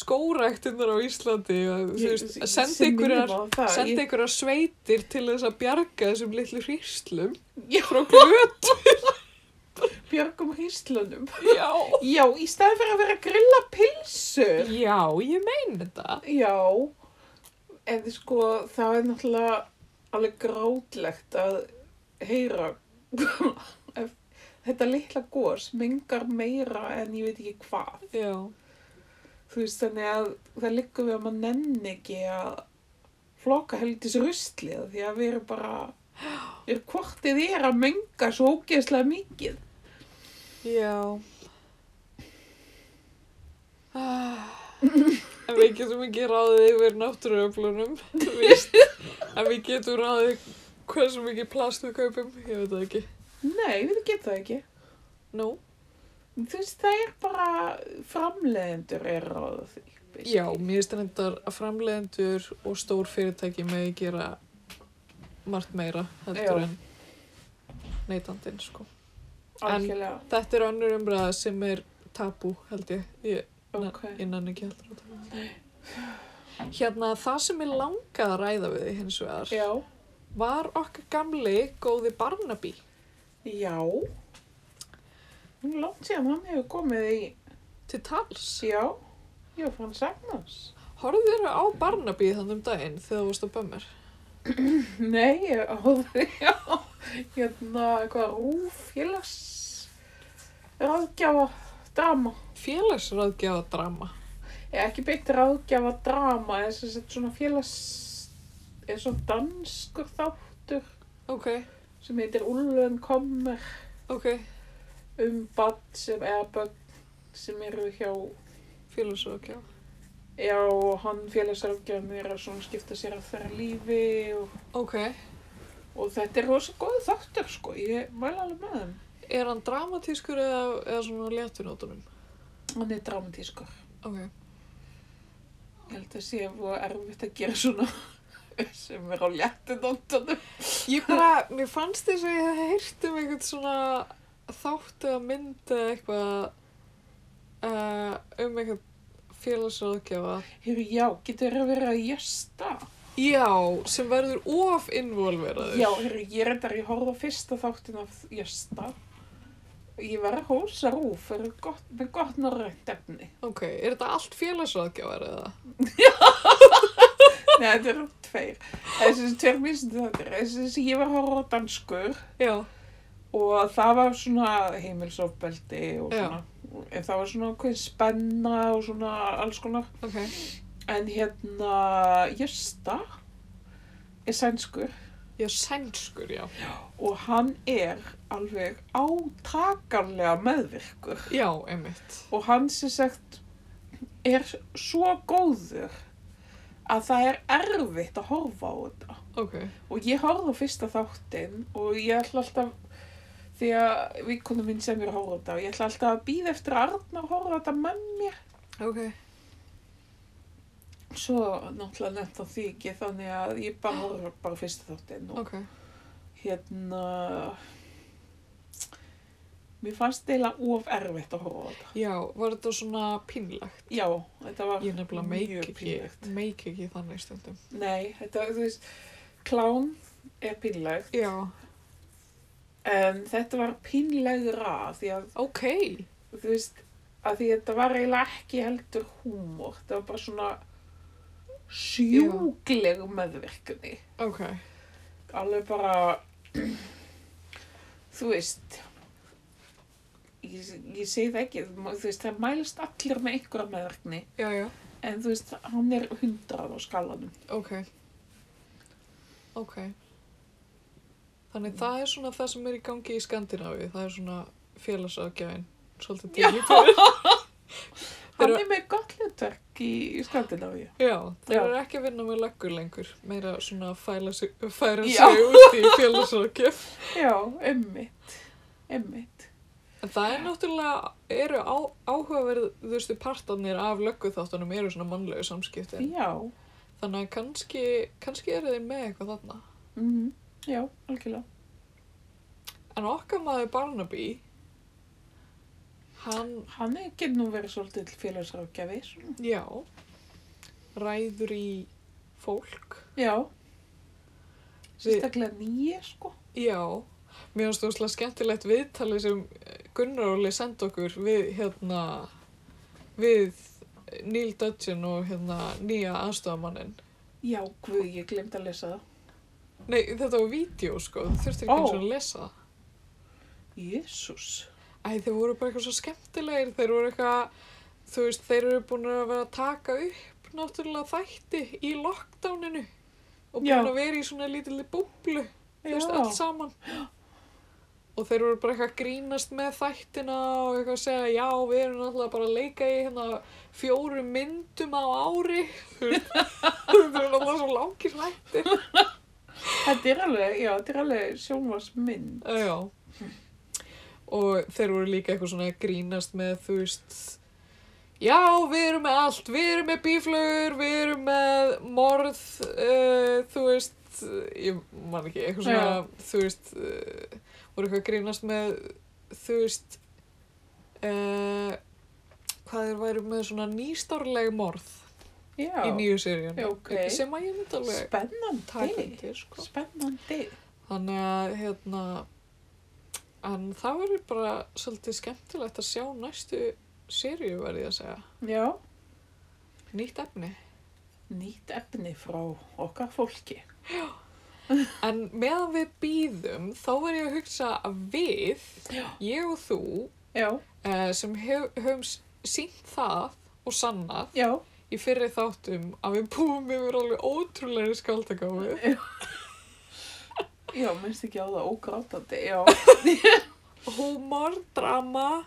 skóræktinnar á Íslandi og þú veist, að senda einhverjar, senda
sendi
einhverjar sveitir til þess að bjarga þessum litlu hríslum
Já.
frá glöt.
björgum hýslunum.
Já.
Já, í staði fyrir að vera að grilla pilsur.
Já, ég mein þetta.
Já, en sko það er náttúrulega alveg grátlegt að heyra ef þetta litla gos mengar meira en ég veit ekki hvað.
Já.
Þú veist þannig að það liggur við að maður nenni ekki að floka heldis ruslið því að við erum bara, við erum hvort þið er að menga svo ógeðslega mikið.
Já. Ah. En við getum ekki ráðið yfir náttúruöflunum, víst. En við getum ráðið hversu mikið plast við kaupum, ég veit það ekki.
Nei, við getum það ekki.
Nú?
Þú veist það er bara framleiðendur er á því. basically.
Já, mér finnst reyndar að framleiðendur og stór fyrirtæki megi gera margt meira heldur
Já.
en neytandinn, sko. En-
Algjörlega,
Þetta er önnur umræða sem er tabú, held ég. Ég,
ok.
ég nann ekki heldur að tala um það. Hérna, það sem ég langaði að ræða við þig hins vegar
Já,
var okkar gamli góði Barnaby.
já. Nú er langt síðan hann hefur komið í,
Til tals.
já, já, fann sagnars.
Horfðu þér á Barnaby þannig um daginn þegar þú varst á Bömmir?
Nei, ég hóði, já, hérna, eitthvað rúf, félags, ráðgjafa, drama.
Félagsráðgjafa drama.
Ég ekki beint ráðgjafa, drama, en sem sett svona félags, er svona danskur þáttur
Ok,
sem heitir Ulven kommer
ok.
um bad sem eða börn sem eru hjá
Félagsráðgjafa.
Já, og hann félagsrákjafum er að svona skipta sér að þeirra lífi og,
Ok.
og þetta er rosa góð þáttur sko, ég mæla alveg með þeim.
Er hann dramatískur eða, eða svona léttunótunum?
Hann er dramatískur.
Ok.
Ég held að sé að það er erfitt að gera svona sem er á léttinóttunum.
Ég bara, mér fannst þess að ég hef heyrt um einhvern svona þáttu að mynda eitthvað uh, um einhvern félagsráðgjafa.
Hefur já, getur að vera að jæsta.
Já, sem verður of involveraður.
Já, hefur ég reyndar, ég horfði á fyrsta þáttin af jæsta. Ég var að hósa rúf, er gott, með gott norrænt efni.
Ok, er þetta allt félagsráðgjafar eða?
Nei, þetta eru tveir. Þessi tveir misnir þetta. Þessi ég var að horfa á danskur.
Já,
og það var svona heimilsofbeldi og
Já.
svona en það var svona okkur spenna og svona alls konar
ok.
en hérna Jösta er sænskur
Já, sænskur, já.
og hann er alveg átakanlega meðvirkur
Já, einmitt.
og hann sem sagt er svo góður að það er erfitt að horfa á þetta
Ok,
Og ég horfði á fyrsta þáttinn og ég ætla alltaf, því að vinkonu mín sem er að horfa á þetta, og ég ætla alltaf að býða eftir að Arnar horfa á þetta með mér.
ok.
Svo náttúrulega nefnt á því ekki, þannig að ég bara horfa bara á fyrsta þáttinn og
Ok.
hérna, mér fannst eiginlega of erfitt að horfa á þetta.
Já, var þetta svona pínlegt?
Já, þetta var
Ég nefnilega meik
mjög
ekki,
pínlegt.
meik ekki þannig stundum.
Nei, þetta, þú veist, klán er pínlegt,
Já,
en þetta var pínlegra því að
ok.
þú veist, að því þetta var eiginlega ekki heldur húmor, þetta var bara svona sjúkleg meðvirkunni.
Ok,
Alveg bara, þú veist, ég, ég segi það ekki, þú veist, það mælist allir með einhverja meðvirkunni,
já, já,
en þú veist, hann er hundrað á skalanum.
ok. Ok. Þannig það er svona það sem er í gangi í Skandinavíu, það er svona félagsafgjafin, svolítið tekið fyrir.
Hann
Þeir-
er með gott hlutverk í, í Skandinavíu.
Já, það
Já.
eru ekki að vinna með löggur lengur, meira svona að fæla sig, færa
Já.
sig út í félagsafgjaf.
Já, emmitt, emmitt.
En það er náttúrulega, eru á, áhugaverðustu partarnir af lögguþáttunum eru svona mannlegu samskipti.
Já,
Þannig að kannski, kannski eru þeir með eitthvað þarna.
mhm, já, algjörlega.
En okkar maður Barnaby, hann
Hann er ekki nú verið svolítið félagsrákjafi. svona.
Já, ræður í fólk.
Já. Sérstaklega nýja, sko.
Já, mér finnst þú svolítið skemmtilegt viðtalið sem eh, Gunnar Óli senda okkur við hérna við Neil Dudgeon og hérna nýja aðstofamannin
Já, guð, ég glemt að lesa það.
Nei, þetta var vídeo sko, þú þurftir ekki
Ó.
eins og að lesa það
Jésús.
Æ, þeir voru bara eitthvað svo skemmtilegir, þeir voru eitthvað, þú veist, þeir eru búin að vera að taka upp náttúrulega þætti í lockdowninu og búin
Já.
að vera í svona lítilli búblu, þú
Já,
veist, allt saman. Og þeir voru bara eitthvað að grínast með þættina og eitthvað að segja, já, við erum náttúrulega bara að leika í hérna fjórum myndum á ári, þú veist, þeir eru náttúrulega svo langir þættir.
þetta er alveg, já, þetta er alveg sjónvarsmynd.
Já. Og þeir voru líka eitthvað svona að grínast með, þú veist, já, við erum með allt, við erum með bíflögur, við erum með morð, uh, þú veist, ég man ekki, eitthvað svona, þú veist, uh, voru eitthvað að grínast með, þú veist, uh, hvað þeir væru með svona nýstárleg morð
Já,
í nýju seríun.
Já, ok.
Sem að ég myndi alveg taka
spennandi.
undir, sko.
Spennandi.
Þannig að, hérna, en það verður bara svolítið skemmtilegt að sjá næstu sériu, verði ég að segja.
Já,
Nýtt efni.
nýtt efni frá okkar fólki.
En meðan við býðum, þá verður ég að hugsa að við, ég og þú,
Já,
eh, sem hef, höfum sínt það og sannað
já,
í fyrri þáttum að við búum yfir alveg ótrúlega skáldagáfu.
já, minnst ekki á það ógrátandi, já.
Húmor, drama,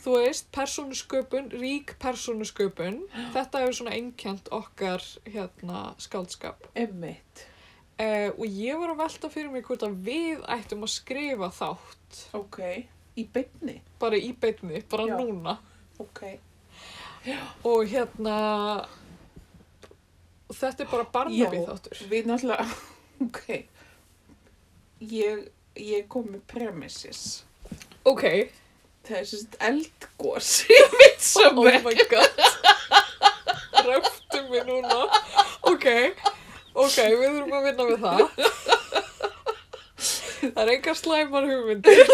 þú veist, persónusköpun, rík persónusköpun. Þetta hefur svona einkjönt okkar hérna skáldskap.
Emmitt,
Uh, og ég var að velta fyrir mig hvort að við ættum að skrifa þátt
ok. Í beinni,
bara í beinni, bara
Já.
núna.
ok.
Og hérna, þetta er bara Barnaby þáttur.
Við náttúrulega, ok. Ég, ég kom með premises.
Ok,
Það er sérst eldgós í
oh
midsummer.
my god, röftum við núna. Ok, ok, við þurfum að vinna við það. Það er engar slæmar hugmyndir.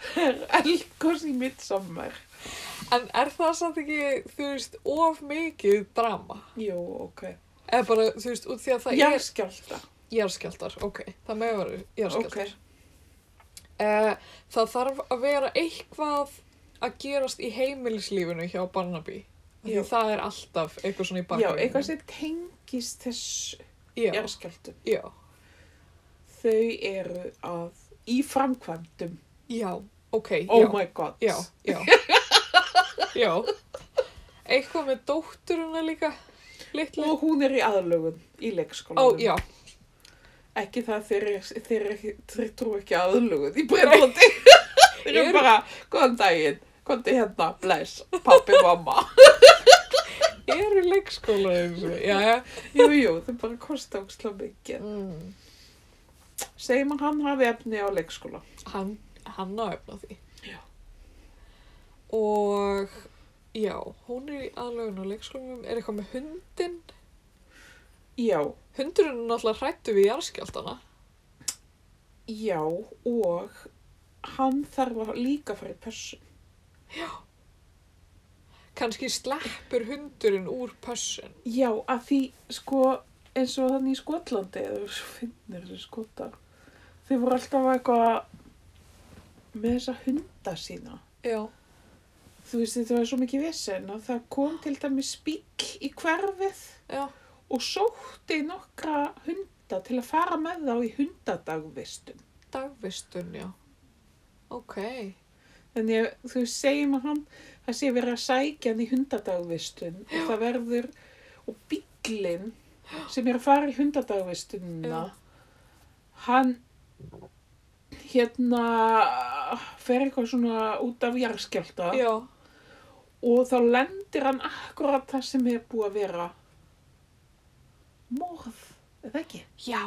Það er eldgós í midsummer.
En er það samt ekki, þú veist, of mikið drama?
Jú, ok.
Eða bara, þú veist, út því að það er
Jarskjálta.
jarðskjaldar, ok, það með verið
Ok,
jarðskjaldar. Okay. Eh, það þarf að vera eitthvað að gerast í heimilislífinu hjá Barnaby. Af Því
Já.
það er alltaf eitthvað svona í
já,
bakgrunni.
eitthvað sem tengist þessu
Já,
jarskjáltu.
já,
Þau eru að í framkvæmdum.
já, ok,
Oh
já,
my god.
já, já, já. Eitthvað með dótturuna líka, litlu.
Og hún er í aðlögun í
Ó,
leikskólanum.
já,
Ekki það þeir, eru- þeir, eru- þeir trú ekki á aðlugun í Breitlandi. þeir eru
Eru-
bara, góðan daginn, komdu hérna, bless, pappi, mamma.
eru leikskóla eins og, já, já.
jú, jú, þeir bara kosta óksla mikið.
Mm.
Segir mann hann hafi efni á leikskóla.
hann, hann á efna því
Já.
og já, hún er í aðlögun á leikskólanum er eitthvað með hundin
Já,
hundurinn er náttúrulega hrættu við jarðskjaldana
já, og hann þarf að líka fara í pössun.
kannski sleppur hundurinn úr pössun
Já, að því, sko, eins og þannig í Skotlandi, eða svo finnir þessu skotar, þeir voru alltaf eitthvað með þessa hunda sína.
já,
þú veist þetta var svo mikið vesen og það kom til dæmis bíll í hverfið
já,
og sótti nokkra hunda til að fara með þá í hundadagvistum.
dagvistun, já ok,
Þannig að þú segir maður hann það sé verið að sækja hann í hundadagvistun og það verður og bíllinn sem er að fara í hundadagvistunina hann hérna fer eitthvað svona út af jarðskjálta
já
og þá lendir hann akkurat það sem er búið að vera morð, eða ekki?
já,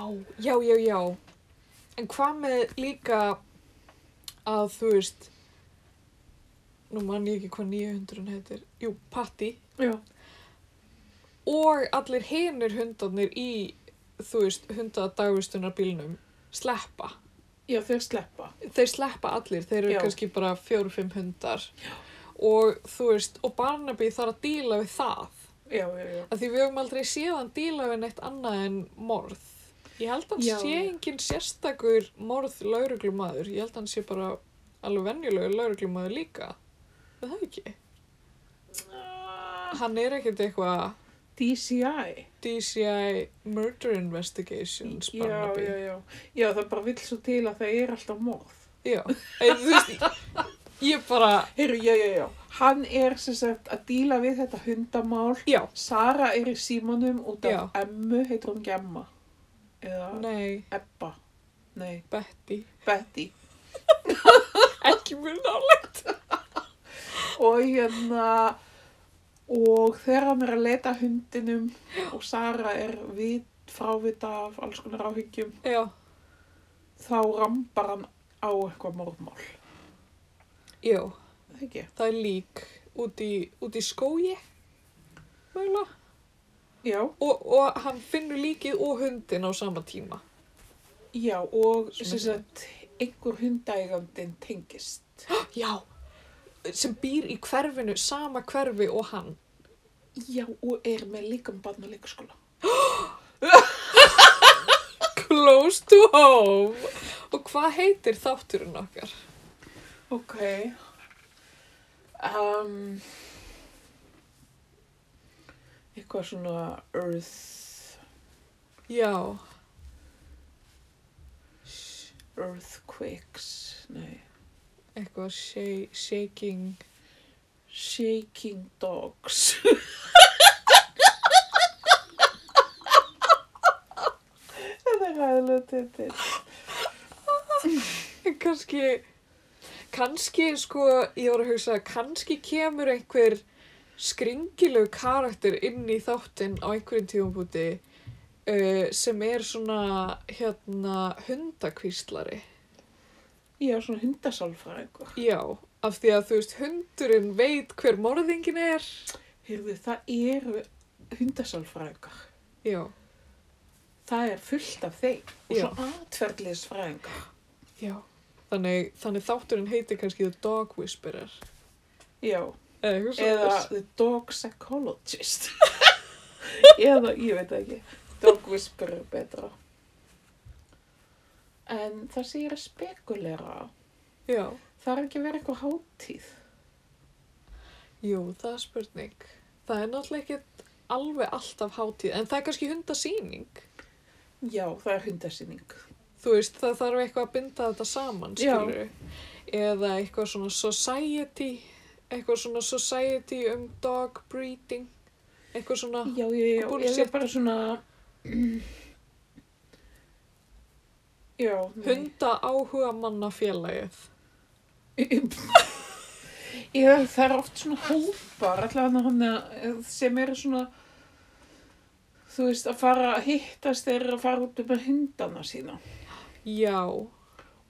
já, já, já en hvað með líka að þú veist nú man ég ekki hvað nýja hundurinn heitir jú, Patti
Já.
og allir hinir hundarnir í þú veist, hundadagvistunarbílnum sleppa
Já, þau sleppa.
þeir sleppa allir, þeir eru
Já.
kannski bara fjóru-fimm hundar Já. og þú veist, og Barnaby þarf að díla við það,
Já, já, já.
af því við höfum aldrei séð hann díla við neitt annað en morð ég held hann
Já.
sé engin sérstakur morð lauruglumadur, ég held hann sé bara alveg venjulegur lauruglumadur líka Er það ekki
Ah.
hann er ekkert eitthvað
DCI.
DCI Murder Investigations
Já,
Barnaby
já, já. Já, það bara vill svo til að það er alltaf morð.
Já, en þú veist, ég bara,
Heyrðu, já, já, já. Hann er sem sagt að díla við þetta hundamál.
já,
Sara er í símanum út af
Já.
Emmu, heitir hún Gemma. Eða
nei,
Ebba. Nei,
Betty,
Betty.
ekki mjög nálega.
Og hérna, og þegar hann er að leita að hundinum og Sara er við, frávita af alls konar áhyggjum,
Já,
þá rambar hann á eitthvað morðmál.
já,
Er Það ekki?
það er lík út í, út í skói, mögulega,
Já,
og, og hann finnur líkið og hundin á sama tíma.
já, og
Svona
sem sagt, einhver hundægandinn tengist.
Já, sem býr í hverfinu, sama hverfi og hann.
Já, og er með líkam barn og leikaskóla.
Close to home. Og hvað heitir þátturinn okkar?
Ok. Um, eitthvað svona earth,
Já,
earthquakes, nei,
eitthvað sha- shaking.
shaking dogs. Þetta er hæðilega titill.
kannski kannski sko ég var að hugsa kannski kemur einhver skringilegu karakter inn í þáttinn á einhverjum tífumbúti uh, sem er svona hérna hundakvíslari
Já, svona hundasálfræðingur.
já, af því að þú veist hundurinn veit hver morðingin er
Heyrðu, það eru hundasálfræðingar.
já,
Það er fullt af þeim. Og
Já.
svona atverðlisfræðingar.
já þannig, þannig þátturinn heitir kannski The Dog Whisperer
Já.
eða eitthvað
eða
svoleiðis.
the dog psychologist eða, ég veit það ekki dog whisperer er betra en það sem ég er að spekulera
já,
það er ekki að vera eitthvað hátíð
jú, það er spurning það er náttúrulega ekkert alveg alltaf hátíð, en það er kannski hundasýning
já, það er hundasýning
þú veist, það þarf eitthvað að binda þetta saman,
Já.
skilur eða eitthvað svona society eitthvað svona society um dog breeding eitthvað svona,
já, já, já, eða
Bullshit.
bara svona já, nei
hunda áhuga manna félagið
eða það er oft svona hópar allavega hann að- sem eru svona þú veist, að fara að hittast þeir eru að fara út um að hundana sína
já,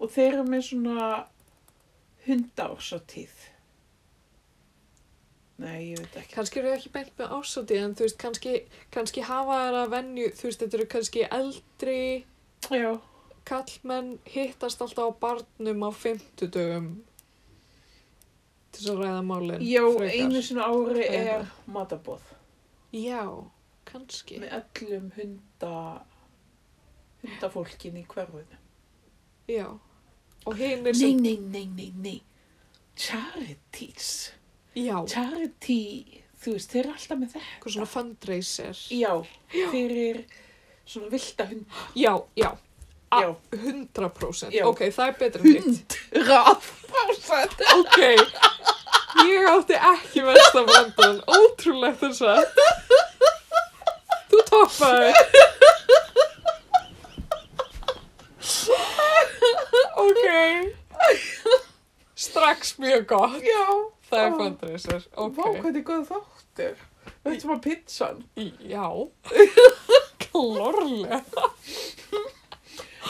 og þeir eru með svona hundaásatíð. Nei, ég veit ekki.
kannski eru þau ekki beint með ásóti en þú veist, kannski, kannski hafa þeirra venju, þú veist, þetta eru kannski eldri
Já,
kallmenn hittast alltaf á barnum á fimmtudögum til þess að ræða málin
já
frekar.
einu sinni á ári
Frekar.
er matabóð
já, kannski
með öllum hunda, hundafólkin í hverfinu.
já, og hinn er
Nei, nei, nei, nei, nei. Charities.
Já,
Charity, þú veist, þeir eru alltaf með þetta.
eitthvað svona fundraiser.
Já, fyrir svona vilda hund.
Já, já, A-
Já, um
100%.
Já.
Ok, það er betra en hitt.
rafbásat.
Ok, ég átti ekki versta blandan, ótrúlegt þess að. Þú toppaði. Ok, strax mjög gott.
Já.
Það er
Ó.
fundraiser,
Vá,
ok.
hvernig góð þáttur. Þetta var pizzan.
Í- Já, klórlega.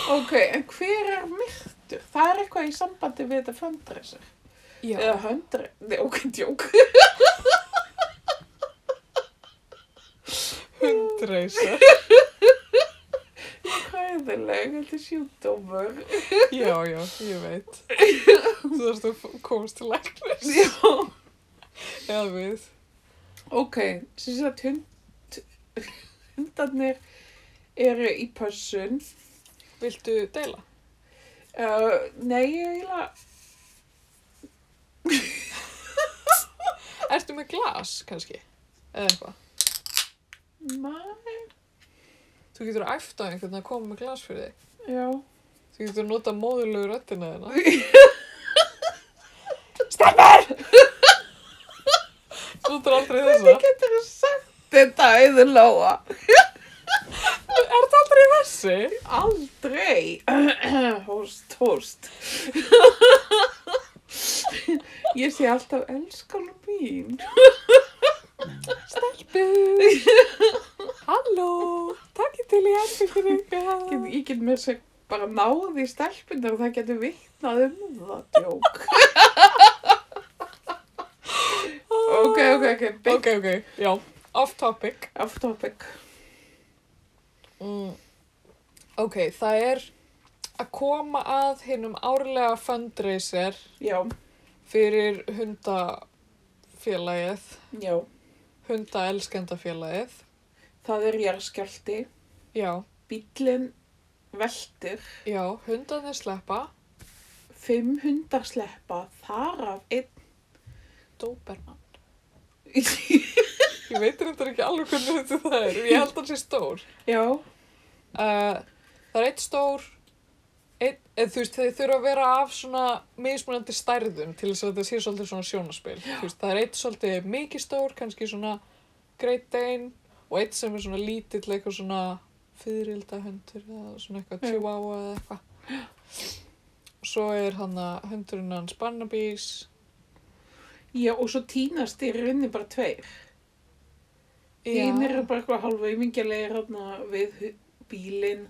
Ok, en hver er myrtur? Það er eitthvað í sambandi við þetta fundraiser.
Já.
Eða hundre... Nei, ok, djók.
Hundreisa.
Ok. hræðileg, þetta er sjúkdómur.
Já, já, ég veit. Þú þarfst að f- komast til læknis.
Já.
Já, við.
Ok, sem sagt hund, hundarnir eru í pössun.
Viltu deila?
Uh, nei, ég eiginlega,
Ertu með glas, kannski? Eða eitthvað.
nei,
Þú getur að æfta einhvern að koma með glas fyrir þig.
já.
Þú getur að nota móðulegu röddina þina. Þú þarf aldrei þessa.
Hvernig getur þú sagt þetta auður Lóa?
Er það aldrei þessi?
Aldrei. hóst, hóst. ég sé alltaf elskan mín.
Stelpur. Halló. Takk til í
Ég
endurkringa.
get, ég get mér sem bara náði í stelpunar og það getur vittnað um það, djók. ok, ok,
Ah. Ok,
ok, big
ok. Já, off topic.
off topic.
Mm. Ok, það er að koma að hinnum árlega fundraiser
Já,
fyrir hundafélagið,
já,
hundaelskendafélagið.
það er jarðskjálti,
Já,
bíllinn veltir,
já, hundarnir sleppa,
fimm hundar sleppa, þar af einn.
Doberman. Ég veit reyndar ekki alveg hvernig þetta það er, ég held hann sé stór.
já,
Uh, það er eitt stór, eitt, eð, þú veist, þeir þurfa að vera af svona mismunandi stærðum til þess að þetta sé svolítið svona sjónaspil. Þú veist, það er eitt svolítið mikið stór, kannski svona Great Dane og eitt sem er svona lítill eitthvað svona fyririldahundur eða svona eitthvað
Já.
chihuahua eða eitthvað. Svo er hann að hundurinn hans Barnabys.
já, og svo tínast í rauninni bara tveir. Einn eru bara eitthvað halva yfingjalegir hérna við hu- bílinn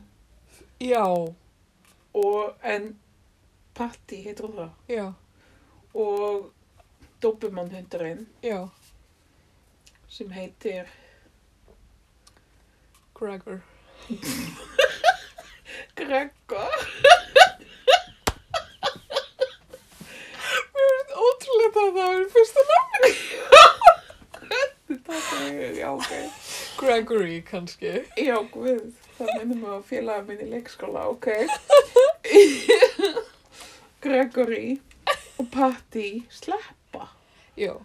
Já,
og en Patti heitir hún það
já,
og Dobermann hundurinn
já,
sem heitir
Gregor.
Gregor.
Ótrúlega það að það er fyrsta nafn.
Já, ok.
Gregory kannski.
Já, guð, það minnum mig að félaga minn í leikskóla, ok. Gregory og Patti sleppa.
Já.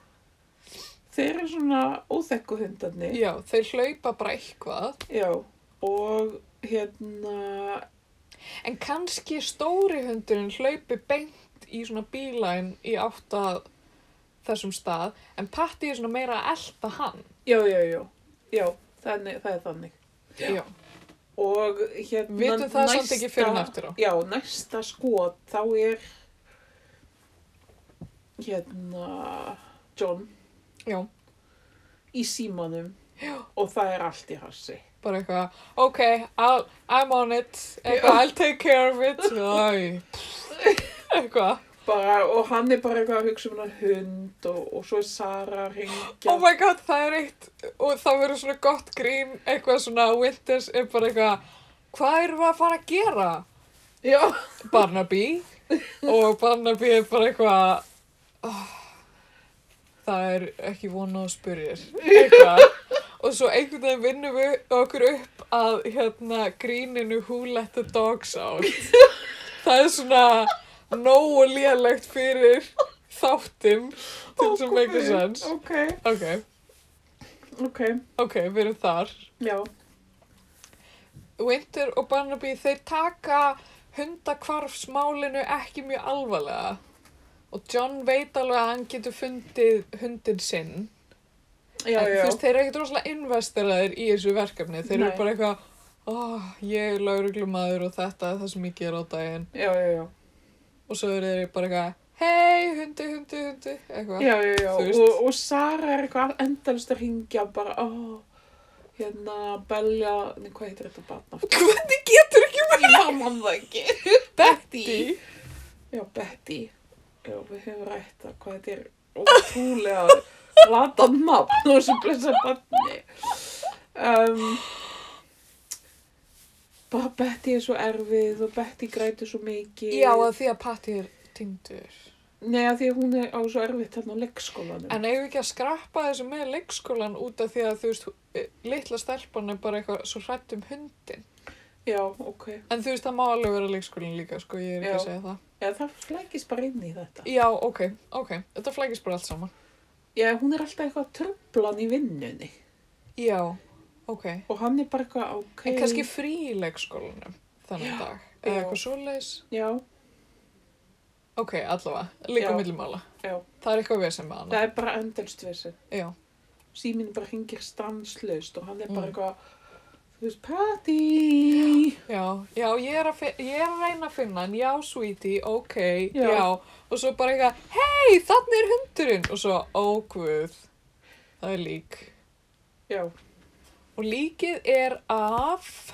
Þeir eru svona óþekku hundarnir.
Já, þeir hlaupa bara eitthvað,
Já, og hérna,
en kannski stóri hundurinn hlaupi beint í svona bílæn í átt að þessum stað, en Patti er svona meira að elta hann.
já, já, já, já, þannig, það er þannig. Já. Og hérna
Vitum það samt ekki fyrr en eftir á.
Já, næsta skot, þá er hérna John
Já,
í símanum og það er allt í hassi.
bara eitthvað, ok, I'll, I'm on it, eitthvað, I'll take care of it, Æ, eitthvað.
Bara, og hann er bara eitthvað að hugsa um hann hund og, og svo er Sara að ringja.
Oh my god, það er eitt, og það verður svona gott grín, eitthvað svona, Winters er bara eitthvað, hvað erum við að fara að gera?
Já,
Barnaby og Barnaby er bara eitthvað oh, það er ekki vona að spyrja eitthvað og svo einhvern veginn vinnum við okkur upp að hérna gríninu who let the dogs out það er svona nógu lélegt fyrir þáttum til
Ó,
sem make a
guð.
sense
Ok,
ok,
ok,
ok, við erum þar
já,
Winter og Barnaby þeir taka hundakvarfsmálinu ekki mjög alvarlega og John veit alveg að hann getur fundið hundin sinn
já,
en
já.
þú veist þeir eru ekkert rosalega investeraðir í þessu verkefni þeir eru
Nei.
bara eitthvað oh, ég er lauruglumadur og þetta er það sem ég ger á daginn
Já, já, já,
og svo eru þeir bara eitthvað hei hundi, hundi, hundi eitthvað
já, já, já.
Þú veist.
Og, og Sara er eitthvað endalist að ringja bara, ó, hérna, belja, nei, hvað heitir þetta barn aftur?
hvernig getur ekki
Ég mann það ekki.
Betty
Já, Betty. Já, við höfum rætt að hvað þetta er ótrúlega latan nafn og þessu blessa barni. Um, og Betty er svo erfið og Betty grætur svo mikið.
Já, að því að Patti er týndur.
Nei, að því að hún er á svo erfitt hérna á leikskólanum.
En eigum við ekki að skrappa þessu með leikskólan út af því að þú veist, eh, litla stelpan er bara eitthvað svo hrætt um hundin.
Já, ok.
En þú veist, það má alveg vera leikskólin líka, sko, ég er ekki
Já.
að segja það.
Já, það flækist bara inn í þetta.
Já, ok, ok, þetta flækist bara allt saman.
Já, hún er alltaf eitthvað tröflan í vinnunni.
Já, ok.
Og hann er bara eitthvað, ok.
En kannski frí í leikskólanum þannig
Já,
dag, eða
já.
eitthvað svoleiðis.
Já,
Ok, allavega, líka
Já.
millimála.
já.
Það er eitthvað vesen með hana.
Það er bara endalst við þessu.
Já,
Síminn bara hringir stanslaust og hann er bara
Mm.
eitthvað, þú veist, Patty.
já, já, ég er að, fi- ég er að reyna að finna hann, já, sweetie, ok, já.
Já.
Og svo bara eitthvað, hei, þannig er hundurinn. Og svo, ó, guð, það er lík.
Já,
Og líkið er af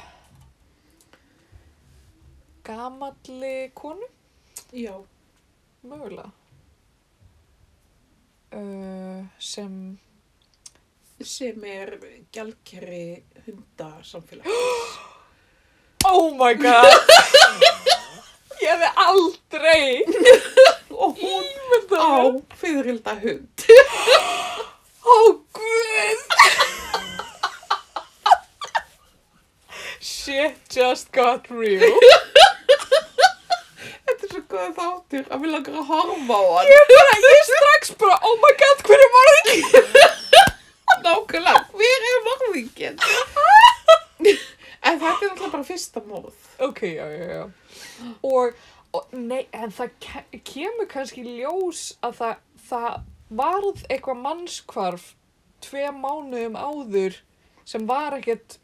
gamalli konu,
já,
mögulega. Uh, sem
sem er gjaldkerri hundasamfélag.
Oh my god Ég hefði aldrei
Og hún
Ímynda
á
mér
fyririlda hund.
Ó guð Shit just got real
Þetta er svo góð þáttur að við langar að horfa á hann.
Ég bara, ég strax bara Oh my god, hver er morðingin?
Nákvæmlega, hver er morðingin? en þetta er náttúrulega bara fyrsta morð.
Ok, já, já, já Og, og nei, en það ke kemur kannski í ljós að það, það varð eitthvað mannskvarf tve mánuðum áður sem var ekkert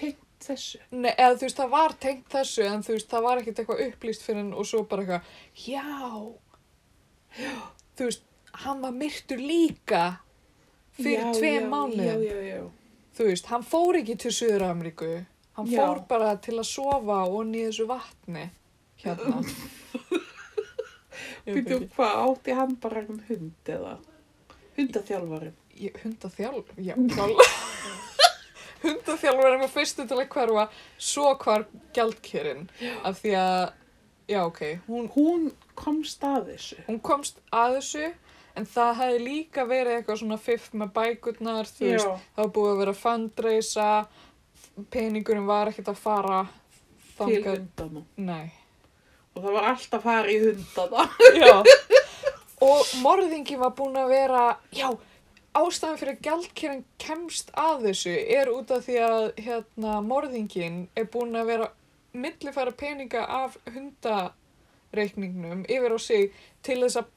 Tengt þessu.
Nei, eða þú veist, það var tengt þessu en þú veist, það var ekkert eitthvað upplýst fyrir hann og svo bara eitthvað, já, já, þú veist, hann var myrtur líka fyrir
Já,
tveim
já,
mánuðum,
Já, já, já.
þú veist, hann fór ekki til Suður-Ameríku, hann
Já.
fór bara til að sofa og nýja þessu vatni hérna. Ég veit
Býtu,
ekki.
hvað átti hann bara um hund eða? Hundaþjálfarin.
Ég, hundaþjálf, já, klálega. hundaþjálf er eitthvað fyrstu til að hverfa, svo hvarf gjaldkerinn. Af því að, já, ok, hún,
Hún komst að þessu.
hún komst að þessu, en það hefði líka verið eitthvað svona fiff með bækurnar, þú veist, það var búið að vera að fundraisa, peningurinn var ekkert að fara
til
þangað.
hundana.
Nei.
Og það var alltaf farið í hundana.
Já. Og morðingi var búin að vera, já, ástæðan fyrir að gjaldkerinn kemst að þessu er út af því að hérna, morðingin er búin að vera millifæra peninga af hundareikningnum yfir á sig til þess að,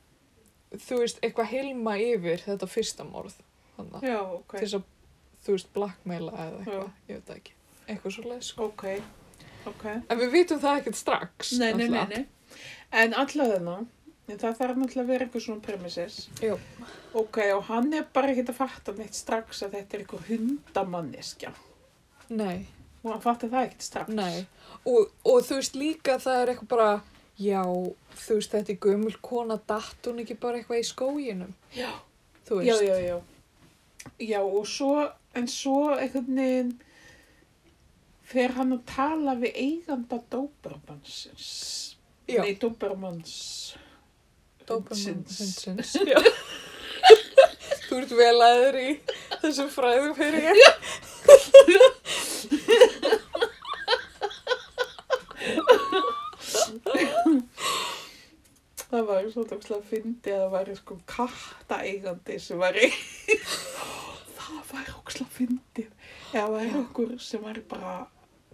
þú veist, eitthvað hilma yfir þetta fyrsta morð. Þannig að
Já, ok.
til þess að, þú veist, blackmaila eða
Já.
eitthvað, ég veit það ekki. Eitthvað svo leið, sko.
Ok, ok.
En við vitum það ekkert strax.
Nei, nei, nei,
náttúrulega.
nei. En allavega þarna, en það þarf náttúrulega að vera eitthvað svona premises.
Jú.
Ok, og hann er bara ekkert að fatta neitt strax að þetta er eitthvað hundamanneskja.
Nei.
Og hann fatti það ekkert strax.
Nei, og, og þú veist líka það er eitthvað bara, já, þú veist þetta er gömul kona, datt hún ekki bara eitthvað í skóginum?
Já.
Þú
Já,
veist,
já, já. Já, og svo, en svo einhvern veginn fer hann að tala við eiganda Dóbermannsins.
Já.
Nei, Dóbermanns. hundsins.
hundsins. Já. þú ert vel aður í þessum fræðum fyrir ég.
Það var svo tókslega að fyndi að það væri sko kattaeigandi sem var í. það var ókslega að fyndi. Eða það væri okkur sem var bara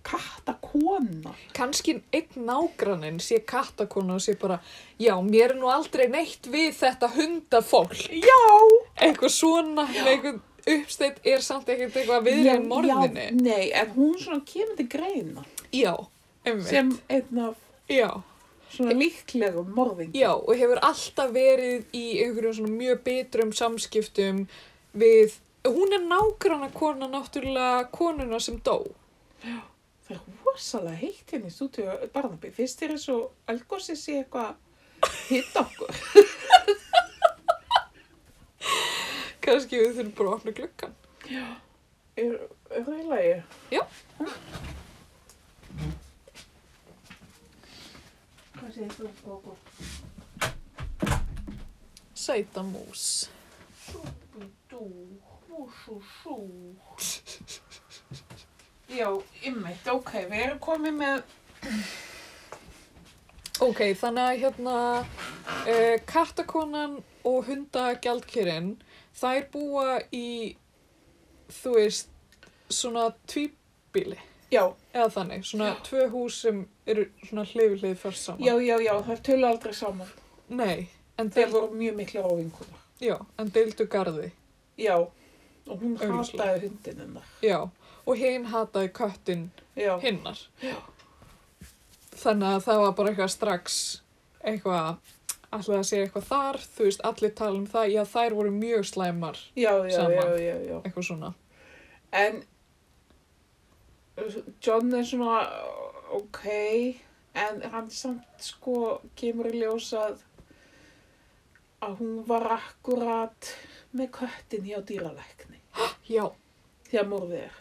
kattakona.
Kanski einn nágranninn sé kattakona og sé bara, já, mér er nú aldrei neitt við þetta hundafólk.
Já!
Eitthvað svona, með einhvern uppsteitt er samt ekkert eitthvað viðrið morðinni.
Já, nei, en hún svona kemur til greina.
Já, einmitt.
Sem einn af
Já.
svona líklegum morðingi.
Já, og hefur alltaf verið í einhverjum svona mjög bitrum samskiptum við, hún er nágranna kona náttúrulega konuna sem dó.
Það er rosalega heitt hérna í stúdíu Barnaby. Fyrst er eins og algósi sé eitthvað að hitta okkur.
Kannski við þurfum bara að opna gluggan.
Er, er það í lagi?
Já.
Hvað segir þú, Gógó?
Sæta mús.
Súbidú, húsú, sú. Já, ymmit, ok, við erum komið með,
Ok, þannig að hérna uh, kattakonan og hundagjaldkyrinn þær búa í þú veist svona tvíbíli
Já,
eða þannig, svona tvö hús sem eru svona hlið við hlið fyrst saman
já, já, já, það tölu aldrei saman.
Nei, en,
Þeir
deil,
voru mjög mikla óvinkunar.
já, en deildu garði
Já, og hún
Augljóslega.
hataði hundin hennar.
Já, og hinn hataði köttin
Já,
hinnar þannig að það var bara eitthvað strax eitthvað alltaf að segja eitthvað þar, þú veist allir tala um það, já þær voru mjög slæmar
já, já, já,
Saman.
já, já.
eitthvað svona,
En John er svona ok, en hann samt sko kemur í ljós að að hún var akkurat með köttin hjá dýralækni
já,
þegar morðið er.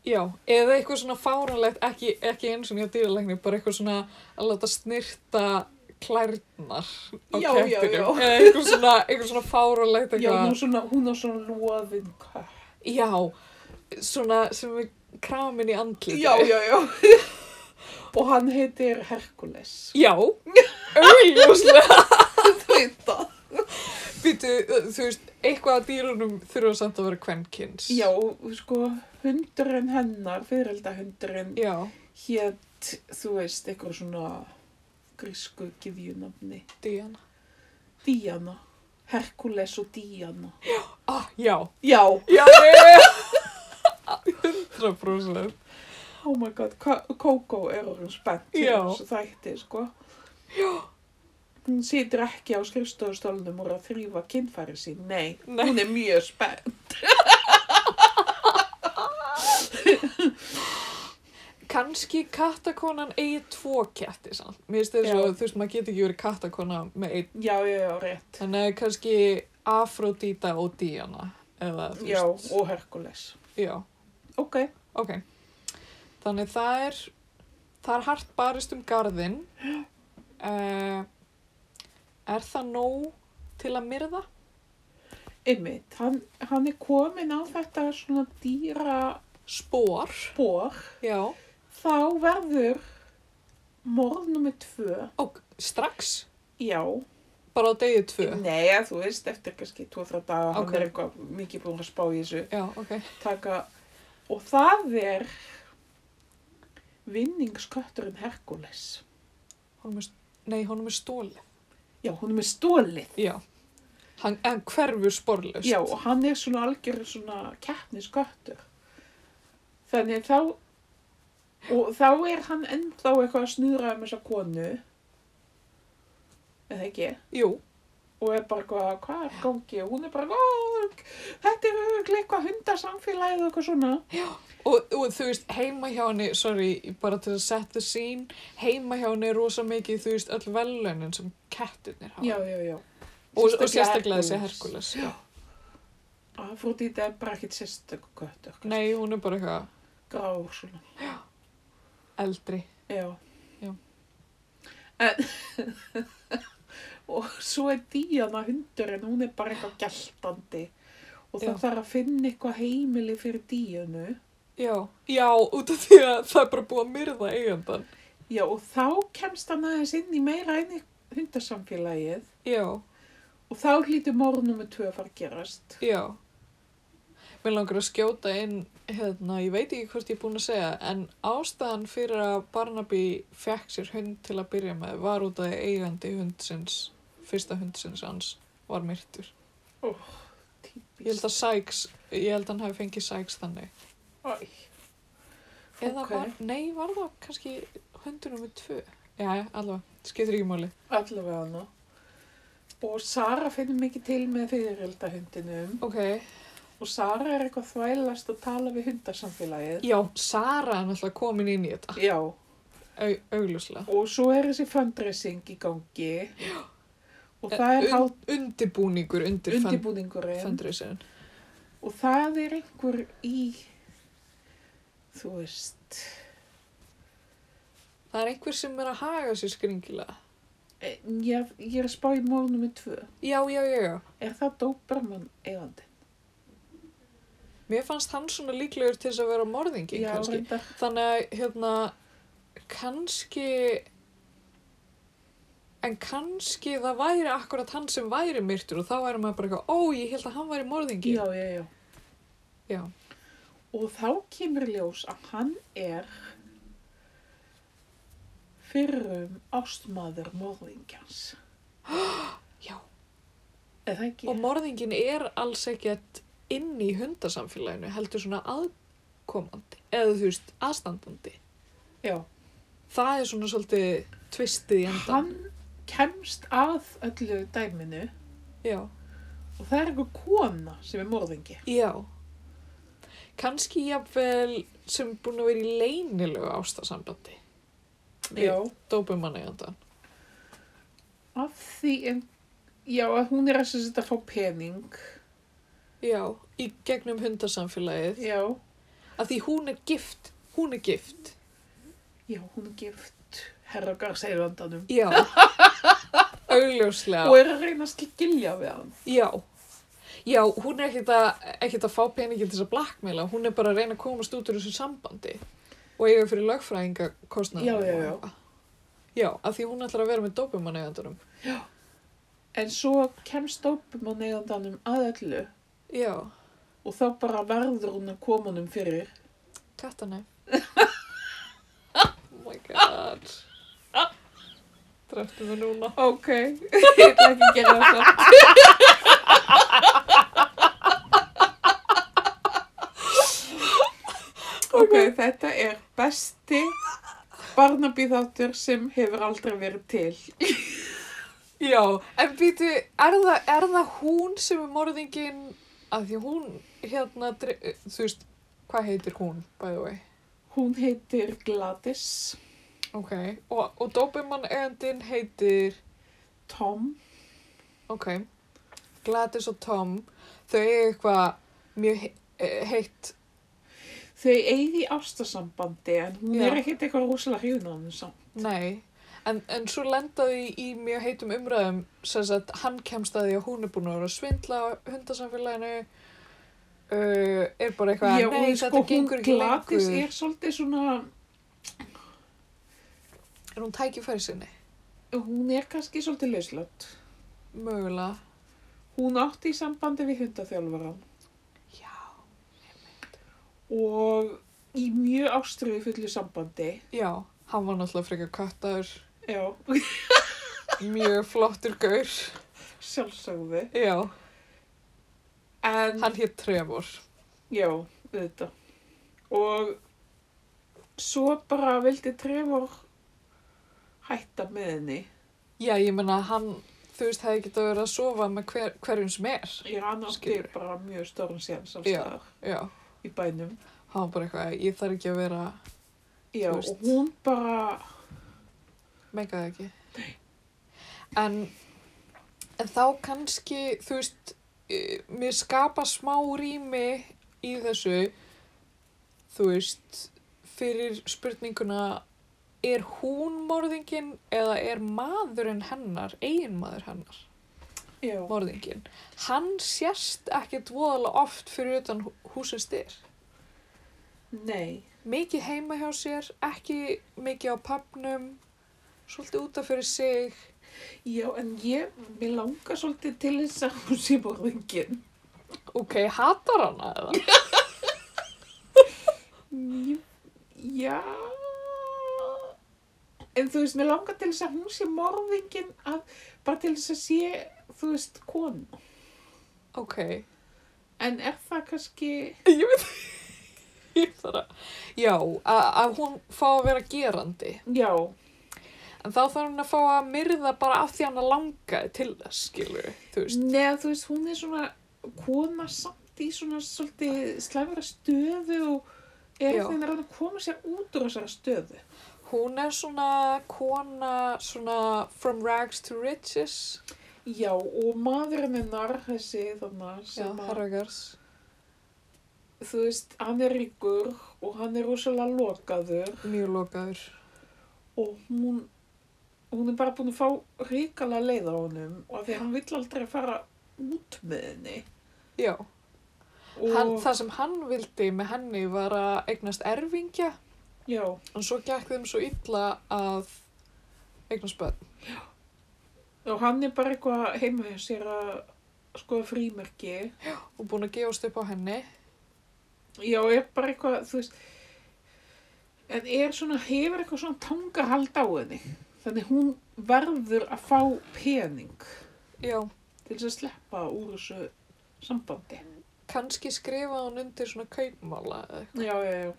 já eða eitthvað svona fáranlegt, ekki, ekki eins og nýja dýralegni, bara eitthvað svona að láta snirta klærnar á
Já, já, já.
kettinum eða eitthvað svona, eitthvað svona fáranlegt
Já, hún
eitthvað,
á svona, hún á svona loðin kött.
já, svona sem við kramin í andliti
já, já. Og hann heitir Herkules.
já augljóslega
Þú veit það.
Býtu, þú veist, eitthvað að dýrunum þurfa samt að vera kvennkins.
Já, sko, hundurinn hennar, fyrirelda hundurinn,
Já,
hétt, þú veist, eitthvað svona grísku gyðjunafni.
Diana.
Díana. Herkules og Díana.
Ah, já.
Já.
Já, ég... 100%.
Oh my god, Ko- Kókó er orðin spennt fyrir
Já.
þessu þætti, sko. Já. Hún situr ekki á skrifstofustólnum og er að þrýfa kynfæri sín. Nei,
Nei.
hún er mjög spennt.
Kanski kattakonan eigi tvo ketti samt. Mér finnst þess
Já.
að, þú veist, maður getur ekki verið kattakona með einn.
Já, já, já, rétt.
Þannig að kannski Afrodita og Diana. Eða, þú
Já,
veist.
og Herkules.
Já.
Ok.
Ok. Þannig það er, það er hart barist um garðin. Uh, er það nóg til að myrða?
Einmitt, hann, hann er komin á þetta svona dýra
Spór.
spór.
Já.
Þá verður morð nummer tvö,
Og strax?
já,
Bara á degi tvö?
nei, að þú veist, eftir kannski tvo-þrjá daga,
Ok.
hann er eitthvað mikið búin að spá í þessu,
Já, ok.
taka, og það er vinningskötturinn Herkules.
Honum er, st- nei, honum er stólið.
Já, hún er með stólið.
Já. Hann, hann hverfur sporlaust.
Já, og hann er svona algjör svona keppnisköttur. Þannig þá, og þá er hann ennþá eitthvað að snuðra um þessa konu, eða ekki,
Jú,
og er bara eitthvað, hvað er í gangi, og hún er bara, "Ó, þetta er örugglega eitthvað hundasamfélagið og eitthvað svona.
og, og þú veist, heima hjá henni, sorry, bara til að setja sín, heima hjá henni er rosa mikið, þú veist, öll vellunin sem kettirnir hafa.
Já, já, já.
Og, og sérstaklega þessi Herkules. Já.
Afrodita er bara ekkit sérstaklega köttur,
Nei, hún er bara eitthvað
grár svona.
eldri.
Já.
Já.
En, og svo er Díana hundurinn, hún er bara eitthvað gæltandi og það
Já.
þarf að finna eitthvað heimili fyrir Díanu.
Já. Já, út af því að það er bara búið að myrða eigandann.
Já, og þá kemst hann aðeins inn í meira inn í hundasamfélagið
Já.
og þá hlýtur morgunum með tvö að fara að gerast.
Já. Mér langar að skjóta inn, hérna, ég veit ekki hvort ég er búin að segja, en ástæðan fyrir að Barnaby fekk sér hund til að byrja með var út af eigandi hundsins, fyrsta hundsins hans, var myrtur. Ég held að Sykes, ég held að hann hefði fengið Sykes þannig.
Æ.
Eða
Ok.
var, nei, var það kannski hundunum við tvö? Já, allavega, skiptir ekki máli.
Allavega hana. Og Sara finnur mikið til með fyrirölda hundinum
Ok,
og Sara er eitthvað þvælast að tala við hundasamfélagið.
já, Sara er náttúrulega komin inn í þetta,
Já.
au, augljóslega.
Og svo er þessi fundraising í gangi og það er
Un,
hát
undibúningur undir, undir
undirbúningurinn
fundraiserin.
og það er einhver í, þú veist,
Það er einhver sem er að haga sér skringilega.
Eh, Ég, ég er að spá í mál nummið tvö.
Já, já, já, já.
Er það Doberman eigandi?
Mér fannst hann svona líklegur til þess að vera morðingi
Já,
kannski.
reyndar.
Þannig að, hérna, kannski, en kannski það væri akkurat hann sem væri myrtur og þá væri maður bara eitthvað, ó, ég held að hann væri morðingi.
Já, já, já.
Já.
Og þá kemur í ljós að hann er fyrrum ástmaður morðingjans.
Já.
Er það ekki?
Og morðingin er alls ekkert inn í hundasamfélaginu, heldur svona aðkomandi, eða þú veist, aðstandandi.
já.
Það er svona svolítið tvistið í endan.
Hann kemst að öllu dæminu
Já.
og það er eitthvað kona sem er morðingi.
Já. Kannski jafnvel sem búin að vera í leynilegu ástasambandi. Dópum manni endan.
Af því en, já, að hún er að sem þetta fá pening.
Já, í gegnum hundasamfélagið.
Já.
Að því hún er gift, hún er gift.
Já, hún er gift herragar segjandanum.
Já. Augljóslega.
Og er að reyna að skilja við hann.
Já, já, hún er ekkert að, ekkert að fá peningin til þess að blackmaila, hún er bara að reyna að komast út úr þessu sambandi og eiga fyrir lögfræðingakostnaðar.
Já, já, já.
Já, af því hún ætlar að vera með dópumanneigandunum.
En svo kemst dópumann eigandanum að öllu
Já,
og þá bara verður hún að koma honum fyrir.
kattanæ. oh my god. Dreftu mig núna.
Ok, ég ætla ekki að gera þetta. ok, þetta er besti barnabíðáttur sem hefur aldrei verið til.
Já, en býtu, er, þa, er það hún sem er morðingin, af því hún, hérna, dre- þú veist, hvað heitir hún, by the way?
Hún heitir Gladys
Ok, og, og Doberman eigandin heitir,
Tom.
ok, Gladys og Tom, þau eiga eitthvað mjög he- eh, heitt,
Þau eigði ástasambandi en hún
Já.
er ekkert eitthvað rosalega hrjúnaðum samt.
nei, en, en svo lenda þau í mjög heitum umræðum, sem sagt hann kemst að því að hún er búin að vera að svindla á hundasamfélaginu, uh, er bara eitthvað,
Já, og
nei,
sko,
þetta
hún
gengur ekki
Gladys
lengur,
er svolítið svona,
er hún tækifæri sinni,
hún er kannski svolítið lauslögt.
mögulega,
Hún átti í sambandi við hundaþjálfaran
já,
og í mjög ástriðu fullu sambandi.
já, hann var náttúrulega frekar kattaður,
Já,
mjög flottur gaur,
sjálfsögðu.
já,
En,
hann hétt Trevor.
já, auðvitað. Og svo bara vildi Trevor hætta með henni.
Já, ég menna að hann, þú veist, hefði getað verið að sofa með hver, hverjum sem er.
Ég hann átti
Skilur.
bara mjög stórn séns alls
Já.
staðar
Já,
í bænum.
hann var bara eitthvað, ég þarf ekki að vera,
Já,
Þú veist.
og hún bara,
meika það ekki. En, en þá kannski, þú veist, eh, mér skapa smá rými í þessu, þú veist, fyrir spurninguna, er hún morðingin eða er maðurinn hennar, eiginmaður hennar?
já,
morðingin, hann sérst ekkert voðalega oft fyrir utan hú- húsins dyr.
nei,
Mikið heima hjá sér, ekki mikið á pappnum, svolítið útaf fyrir sig.
já, en ég, mér langar svolítið til þess að hún sé morðingin.
Ok, hatar hana eða?
Ég- Já, en þú veist, mér langar til þess að hún sé morðingin að, bara til þess að sé, þú veist, konu.
Ok,
En er það kannski,
ég veit ég þarf að, já, að að hún fá að vera gerandi.
já,
En þá þarf hún að fá að myrða bara af því hana langaði til þess, skilur, þú veist.
neða, þú veist, hún er svona kona samt í svona svolítið slæmara stöðu og er
Já.
þeirra að koma sér út úr þessara stöðu.
Hún er svona kona, svona from rags to riches.
Já, og maðurinn hennar, þessi þannig
Já,
sem að,
Harrogars.
þú veist, hann er ríkur og hann er rosalega lokaður
Mjög lokaður.
og hún hún er bara búin að fá ríkala leið á honum og af því að hann vill aldrei fara út með henni
Já,
og
hann, það sem hann vildi með henni var að eignast erfingja
já,
en svo gekk þeim svo illa að eignast börn.
og hann er bara eitthvað heima hjá sér að skoða frímerki
Og búin að gefast upp á henni.
já, er bara eitthvað, þú veist en er svona, hefur eitthvað svona tangahald á henni þannig hún verður að fá pening
Já,
til þess að sleppa úr þessu sambandi
kannski skrifaði hún undir svona kaupmála eða eitthvað.
já, já, já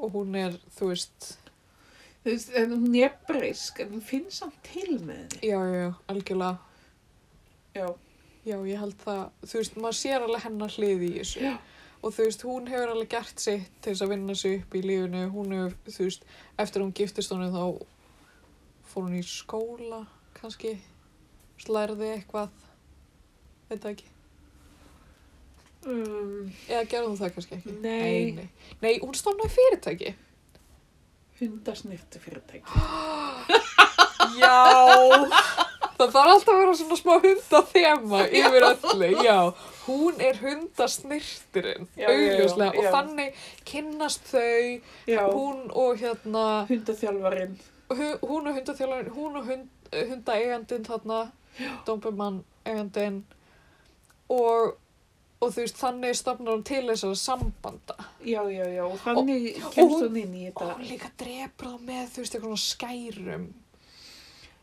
og hún er, þú veist,
Þú veist, en hún er breysk, en hún finnst samt til með henni.
já, já, já, algjörlega.
Já.
Já, ég held það, þú veist, maður sér alveg hennar hlið í þessu.
Já.
Og þú veist, hún hefur alveg gert sitt til þess að vinna sig upp í lífinu. Hún hefur, þú veist, eftir að hún giftist honum þá fór hún í skóla, kannski, slærði eitthvað, veit það ekki.
Um,
Eða gerði hún það kannski ekki?
Nei.
Nei, nei. nei hún stofnaði fyrirtæki.
hundasnirtu fyrirtæki.
Já. Það þarf alltaf að vera svona smá hundathema yfir öllu, já. Hún er hundasnirtirinn,
Já, já, já,
augljóslega,
já.
og þannig kynnast þau,
Já,
hún og hérna,
hundaþjálfarinn.
hu- hún og hundaþjálfarinn, hún og hund, hundaeigandinn þarna, Dómbumann eigandinn, og, og þú veist, þannig stofnar hún til þessara sambanda.
Já, já, já, og þannig
og
kemst
hún-
hún inn í
Og hún
þetta.
líka drepur það með, þú veist, eitthvað svona skærum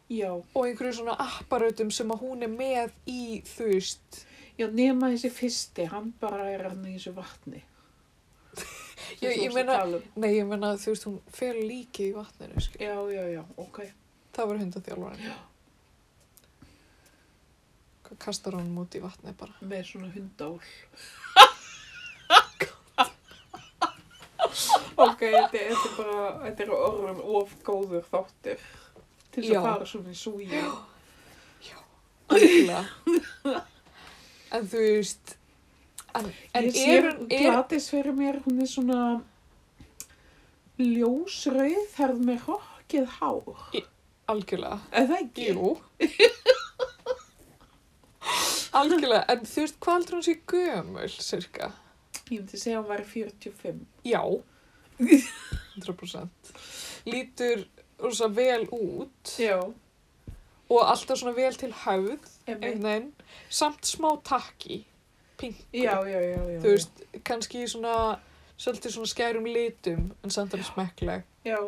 Já,
og einhverju svona apparautum sem að hún er með í, þú veist,
já, nema þessi fyrsti, hann bara er hann í þessu vatni.
Já,
Sem þú
ég
varst að
meina-
tala um.
Nei, ég meina, þú veist, hún fer líki í vatninu, skil.
Já, já, já, ok.
Það var hundaþjálfarinn. Hvað kastar hún út í vatni bara?
Með svona hundál. ok, þetta er þetta er bara, þetta er orðum of góður þáttir til þess
Já.
að fara svona í súgi.
Algjörlega. en þú veist, en, en
En
er
ég sé
hún, er,
Gladys fyrir mér, hún er svona ljósrauð, herð með hrokkið hár.
algjörlega,
Er það ekki?
jú. algjörlega, en þú veist, hvað heldur hún sé gömul, cirka?
Ég myndi segja að hún væri 45.
Já. 100%. Lítur rosa vel út
Já.
og alltaf svona vel til höfð.
Einmitt.
einhvern veginn, samt smá takki, pinkur,
Já, já, já, já.
þú veist, kannski í svona, svolítið svona skærum litum, en samt alveg smekkleg.
Já.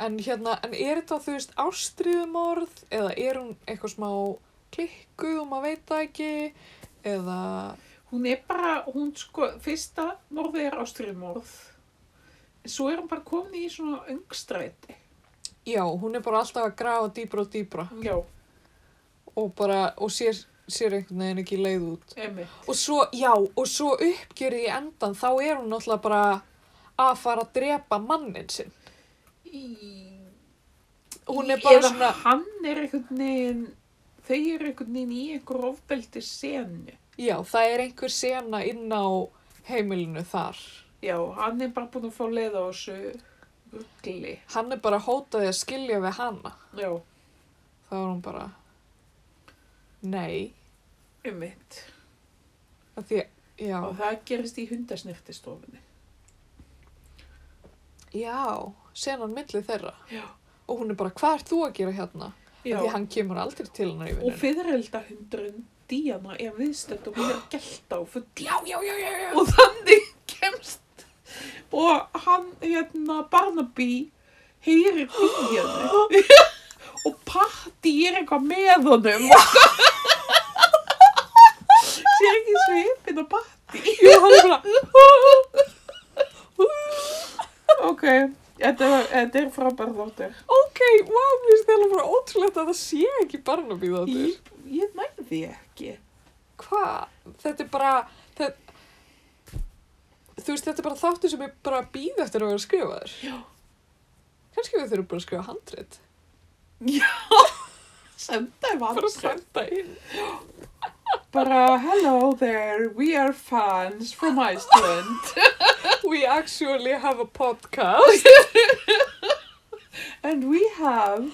En hérna, en er þetta, þú veist, ástriðumorð, eða er hún eitthvað smá klikkuð og maður veit það ekki, eða,
Hún er bara, hún sko, fyrsta morðið er ástriðmorð. Svo er hún bara komin í svona öngstræti.
já, hún er bara alltaf að grafa dýbra og dýbra
Já,
og bara, og sér, sér einhvern veginn ekki leið út.
emmitt.
Og svo, já, og svo uppgjörið í endan, þá er hún náttúrulega bara að fara að drepa mannin sinn. Hún er bara
Eða
svona,
hann er einhvern veginn, þau eru einhvern veginn í einhver ofbeldi senu.
Já, það er einhver sena inn á heimilinu þar.
Já, hann er bara búin að fá leið á þessu ruggli.
Hann er bara hótaði að skilja við hana.
Já,
Þá er hún bara, nei,
um mitt.
af því, já,
Og það gerist í hundasnirtistofunni.
já, senan milli þeirra.
Já.
Og hún er bara, hvað ert þú að gera hérna? Já.
Já,
Því hann kemur aldrei til hennar í
og
vinnunni.
fyrirelda hundurinn Díana er viðstönd og hún er gælt á full.
Já, já, já, já, já.
Og þannig kemst. Og hann, hérna, Barnaby, heyrir Díanu. og Patti er eitthvað með honum. Sér ekki svipin og Patti.
Jú, hann er bara,
Ok, þetta, þetta er frábær þáttur.
ok, wow, mér finnst það bara ótrúlegt að það sé ekki barnabíð á þér.
Ég, ég næði því ekki.
Hvað? Þetta er bara, þetta, þú veist, þetta er bara þáttur sem er bara að býða eftir að vera skrifaður.
Já.
Kannski við þurfum bara að skrifa handrit.
Senda um
Bara að
handrit.
senda inn.
Bara, hello there, we are fans from Iceland.
We actually have a podcast.
and we have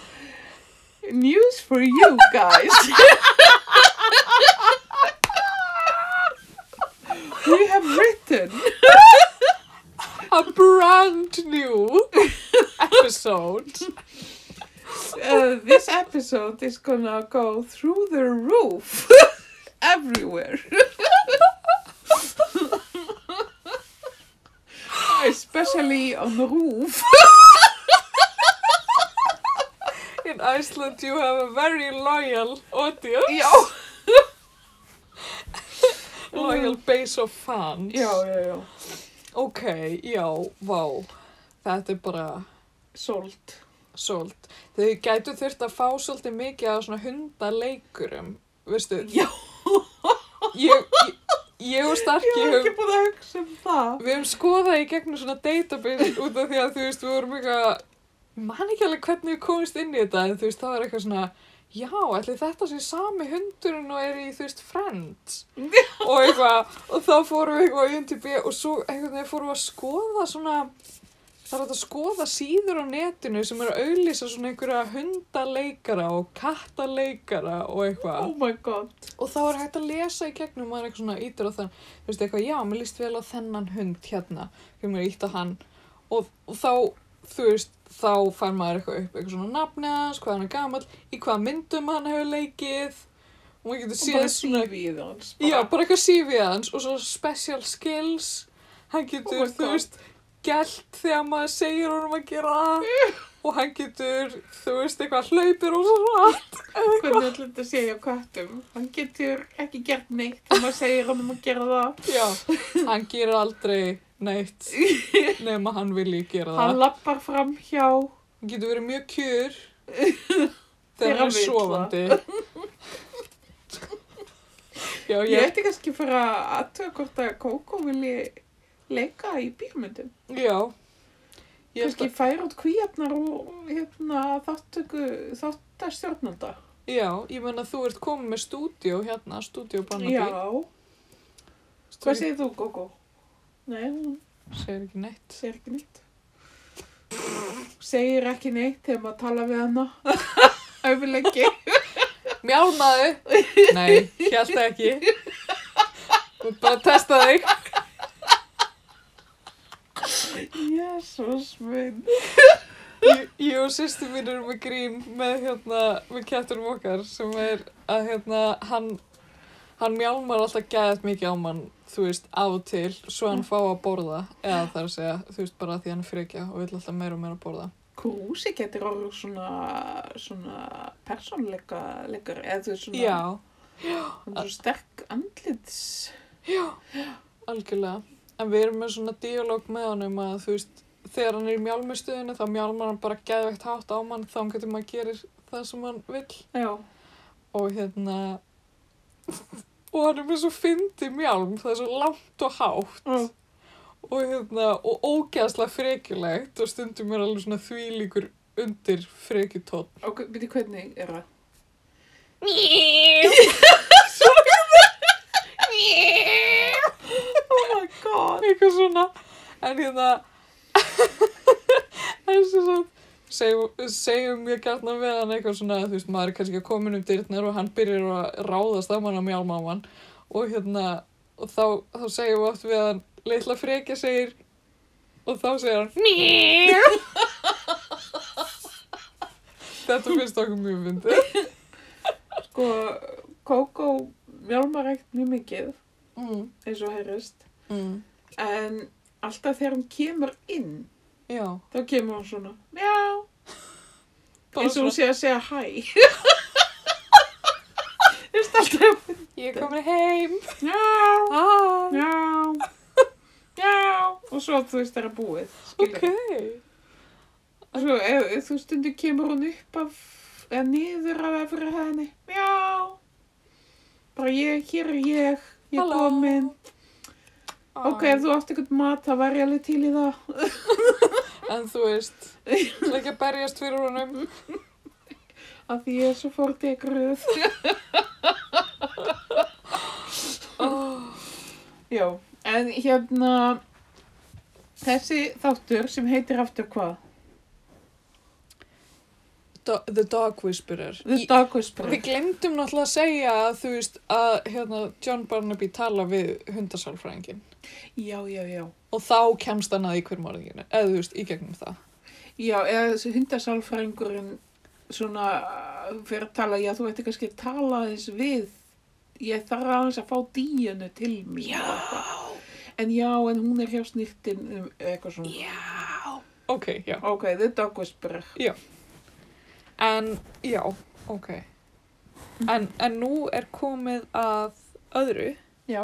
news for you guys. we have written
A brand new episode.
uh, this episode is gonna go through the roof everywhere. Especially on the roof.
In Iceland you have a very loyal audience.
Já.
Loyal base of fans.
Já, já, já.
Ok, já, vá. Þetta er bara
Sold.
svolít. Þau gætu þurft að fá svolítið mikið af svona hundaleikurum, veistu?
Já.
Ég, ég, ég og
Ég
Starki
hef
höfum
ekki búin að hugsa um það.
Við höfum skoðað í gegnum svona database út af því að þú veist, við vorum eitthvað, ég man ekki alveg hvernig við komist inn í þetta, en þú veist, það var eitthvað svona, já, ætli þetta sé sami hundurinn og er í, þú veist, Friends og eitthvað, og þá fórum við eitthvað í UNTB og svo einhvern veginn fórum við að skoða svona, það er hægt að skoða síður á netinu sem eru að auðlýsa svona einhverja hundaleikara og kattaleikara og eitthvað
Oh my god.
og þá er hægt að lesa í gegnum maður er eitthvað svona ítur á þann þú veist eitthvað, já, mér líst vel á þennan hund hérna fyrir mér ítt á hann og, og þá, þú veist, þá fær maður eitthvað upp eitthvað svona nafni hans, hvað hann er gamall í hvaða myndum hann hefur leikið og maður getur
Og bara
séð svona
sífið hans.
já, bara eitthvað CV hans og svo special skills hann
Oh
getur,
my
þú
God.
veist gælt þegar maður segir honum að gera það og hann getur, þú veist, eitthvað hlaupir og svo
Oh Hvernig ætlum þetta að segja köttum? Hann getur ekki gert neitt þegar maður segir honum að gera það.
Já, hann gerir aldrei neitt nema hann vilji gera
Hann
það.
lappar fram hjá.
Hann getur verið mjög kjur
Þegar
þegar hann er
vill
sofandi. Já,
Ég
ég,
ætti kannski að fara að aðtöða hvort að Kókó vilji leika í bíómyndum.
já. Ég held
Kannski færa út kvíarnar og hérna, þáttöku, þáttastjórnanda.
að- Já, ég menna þú ert komið með stúdíó hérna, stúdíó Barnaby.
Já. Hvað segir þú, Kókó? Nei, hún
Segir ekki neitt.
segir ekki neitt. Segir ekki neitt þegar maður tala við hana. Öfulegi.
Mjálmaðu! Nei, held ekki. Þú ert bara að testa þig.
Jésús minn.
Ég- ég og sýstu mín erum með grín með hérna, með ketturum okkar sem er að hérna, hann hann mjálmar alltaf gæðið mikið á mann, þú veist, á og til svo hann fá að borða, eða það er að segja þú veist, bara því hann er frekja og vill alltaf meira og meira að borða.
Krúsi getur orðið svona, svona persónleika leikar, eða þú veist svona,
Já,
svona svo sterk andlits.
algjörlega. En við erum með svona díalóg með hann um að þú veist, þegar hann er í mjálmustuðinu þá mjálmar hann bara gæðvegt hátt á mann þá hann getur maður að gera það sem hann vill
Já.
og hérna og hann er með svo fyndi mjálm það er svo langt og hátt
Mm.
og hérna, og ógeðslega frekjulegt og stundum er alveg svona þvílíkur undir frekjutótt.
Og byrju hvernig er það? Oh my god.
Eitthvað svona, en hérna, en sem sagt, segjum, segjum mjög gætna við hann eitthvað svona, þú veist, maður er kannski að komin um dyrnar og hann byrjar að ráðast á mann á mjálma á hann og hérna, og þá, þá segjum við oft við hann, litla frekja segir, og þá segir hann,
Mjög.
þetta finnst okkur mjög myndið.
Sko, Kókó mjálmar ekkert mjög mikið,
Mm,
eins og heyrist,
mm,
en alltaf þegar hún kemur inn,
já.
þá kemur hún svona, mjá,
Bara
eins
svona,
og hún sé að segja hæ. Vist alltaf,
ég er komin heim.
mjá.
Ah,
Já, já, og svo þú veist það er að búið, skilur.
ok.
Svo ef, ef þú stundu kemur hún upp af, eða niður af efri hæðinni, já, bara ég, hér er ég, ég er
Halló.
komin. Ok,
Æ,
ef þú átt eitthvað mat, það var ég alveg til í það.
En þú veist, það er ekki að berjast fyrir honum.
Mhm. Af því ég er svo fórt ég gruð. Já, en hérna, þessi þáttur sem heitir aftur hvað?
do, The Dog Whisperer.
The
Í-
Dog Whisperer.
Við glemdum náttúrulega að segja að þú veist að hérna, John Barnaby tala við hundasálfræðingin
Já, já, já.
og þá kemst hann að í hver morðinginu, eða þú veist, í gegnum það.
Já, eða þessi hundasálfræðingurinn svona uh, fyrir að tala, já, þú veitir kannski að tala þess við, ég þarf aðeins að fá díjunu til mér. En já, en hún er hjá snýttin um eitthvað svona.
já.
Ok, já.
Ok, The Dog Whisperer.
En, já, ok. En, en nú er komið að öðru.
Já.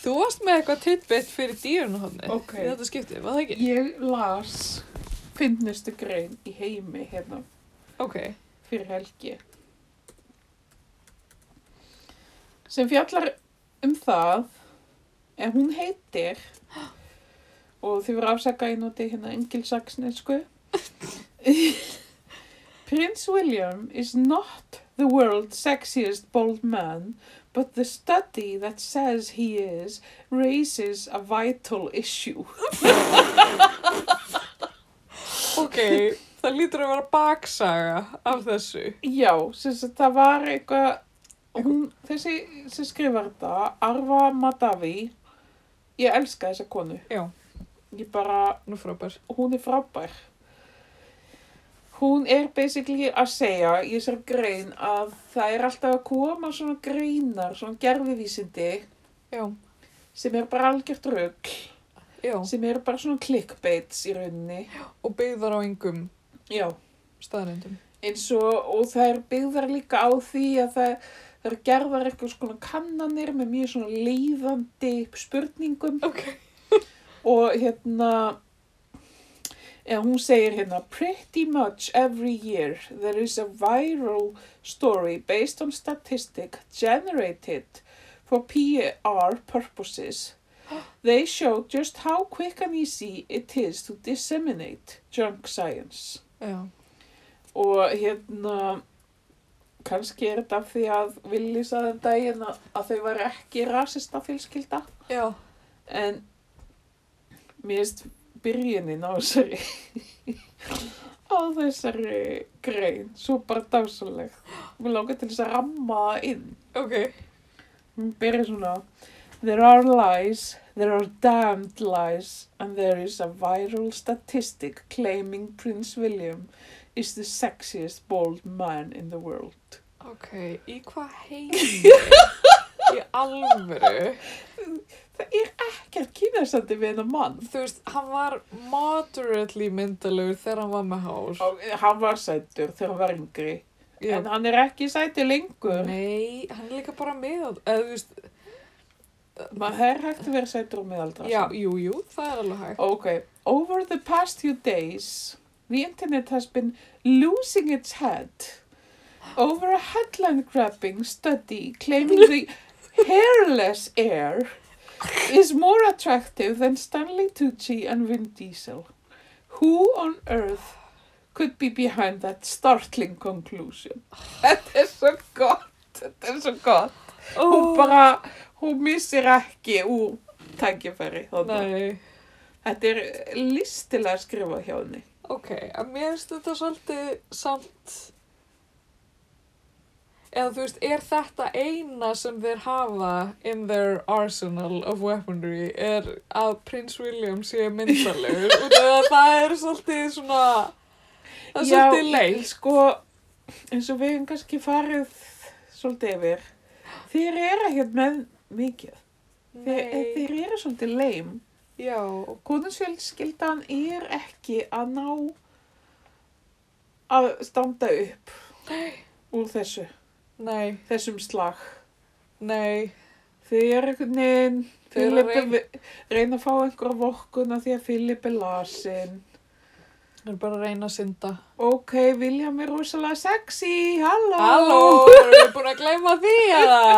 Þú varst með eitthvað tidbit fyrir dýrunahodni
Ok.
í þetta skipti, var það ekki?
Ég las finnustu grein í heimi hérna
Ok,
fyrir helgi sem fjallar um það en hún heitir og þið voru afsaka í noti hérna engilsaksnesku Prince William is not the world's sexiest bald man but the study that says he is raises a vital issue
ok, það lítur að vera baksaga af þessu.
Já, sem sagt það var eitthvað hún, þessi sem skrifar þetta Arva Madavi ég elska þessa konu
Já.
ég bara,
Nú frábær.
hún er frábær hún er basically að segja í þessar grein að það er alltaf að koma svona greinar, svona gerfivísindi
Já,
sem er bara algjört rugg
já.
sem er bara svona clickbaits í rauninni
Og byggðar á yngum
Já,
staðrindum.
eins og, og það er byggðar líka á því að það, það er gerðar eitthvað svona kannanir með mjög svona leiðandi spurningum
Ok.
og hérna eða hún segir hérna pretty much every year there is a viral story based on statistic generated for PR purposes they show just how quick and easy it is to disseminate junk science
Já,
og hérna kannski er þetta af því að Willi saði um daginn að, að þau var ekki rasista fjölskylda
já.
en mér finnst byrjunin á þessari á þessari grein svo bara dásaleg mér langar til þess að ramma það inn
Ok.
hún byrja svona There are lies, there are damned lies and there is a viral statistic claiming Prince William is the sexiest bald man in the world.
Ok, í hvað heimi? í alvöru?
Það er ekkert kynasandi við hennar mann.
Þú veist, hann var moderately myndalegur þegar hann var með hár.
Og Hann var sætur þegar hann var yngri.
Já.
En hann er ekki sætur lengur.
Nei, hann er líka bara með, eða þú veist,
Maður er hægt að vera sætur og miðaldra. sko.
já, jú, jú, það er alveg hægt.
Okay. Over the past few days, the internet has been losing its head over a headline grabbing study claiming the hairless air is more attractive than Stanley Tucci and Vin Diesel. Who on earth could be behind that startling conclusion? Þetta er svo gott, þetta er svo gott. Hún bara, hún missir ekki úr tækifæri. þarna.
Nei,
Þetta er listilega skrifað hjá henni.
ok, en mér finnst þetta svolítið samt, eða þú veist, er þetta eina sem þeir hafa in their arsenal of weaponry er að prins William sé myndalegur, út af að það er svolítið svona, það er svolítið leik.
Sko, eins og við hefum kannski farið svolítið yfir. Þeir eru ekkert með mikið. Þeir, þeir eru svolítið leim.
já,
Konungsfjölskyldan er ekki að ná að standa upp úr þessu,
nei,
þessum slag.
nei.
Þeir eru einhvern veginn,
Þeir eru að
Filip er reyna að fá einhverja vorkun af því að Filip er lasin.
Það er bara að reyna að synda.
Ok, William er rosalega sexy, halló.
Halló, erum við búin að gleyma því eða?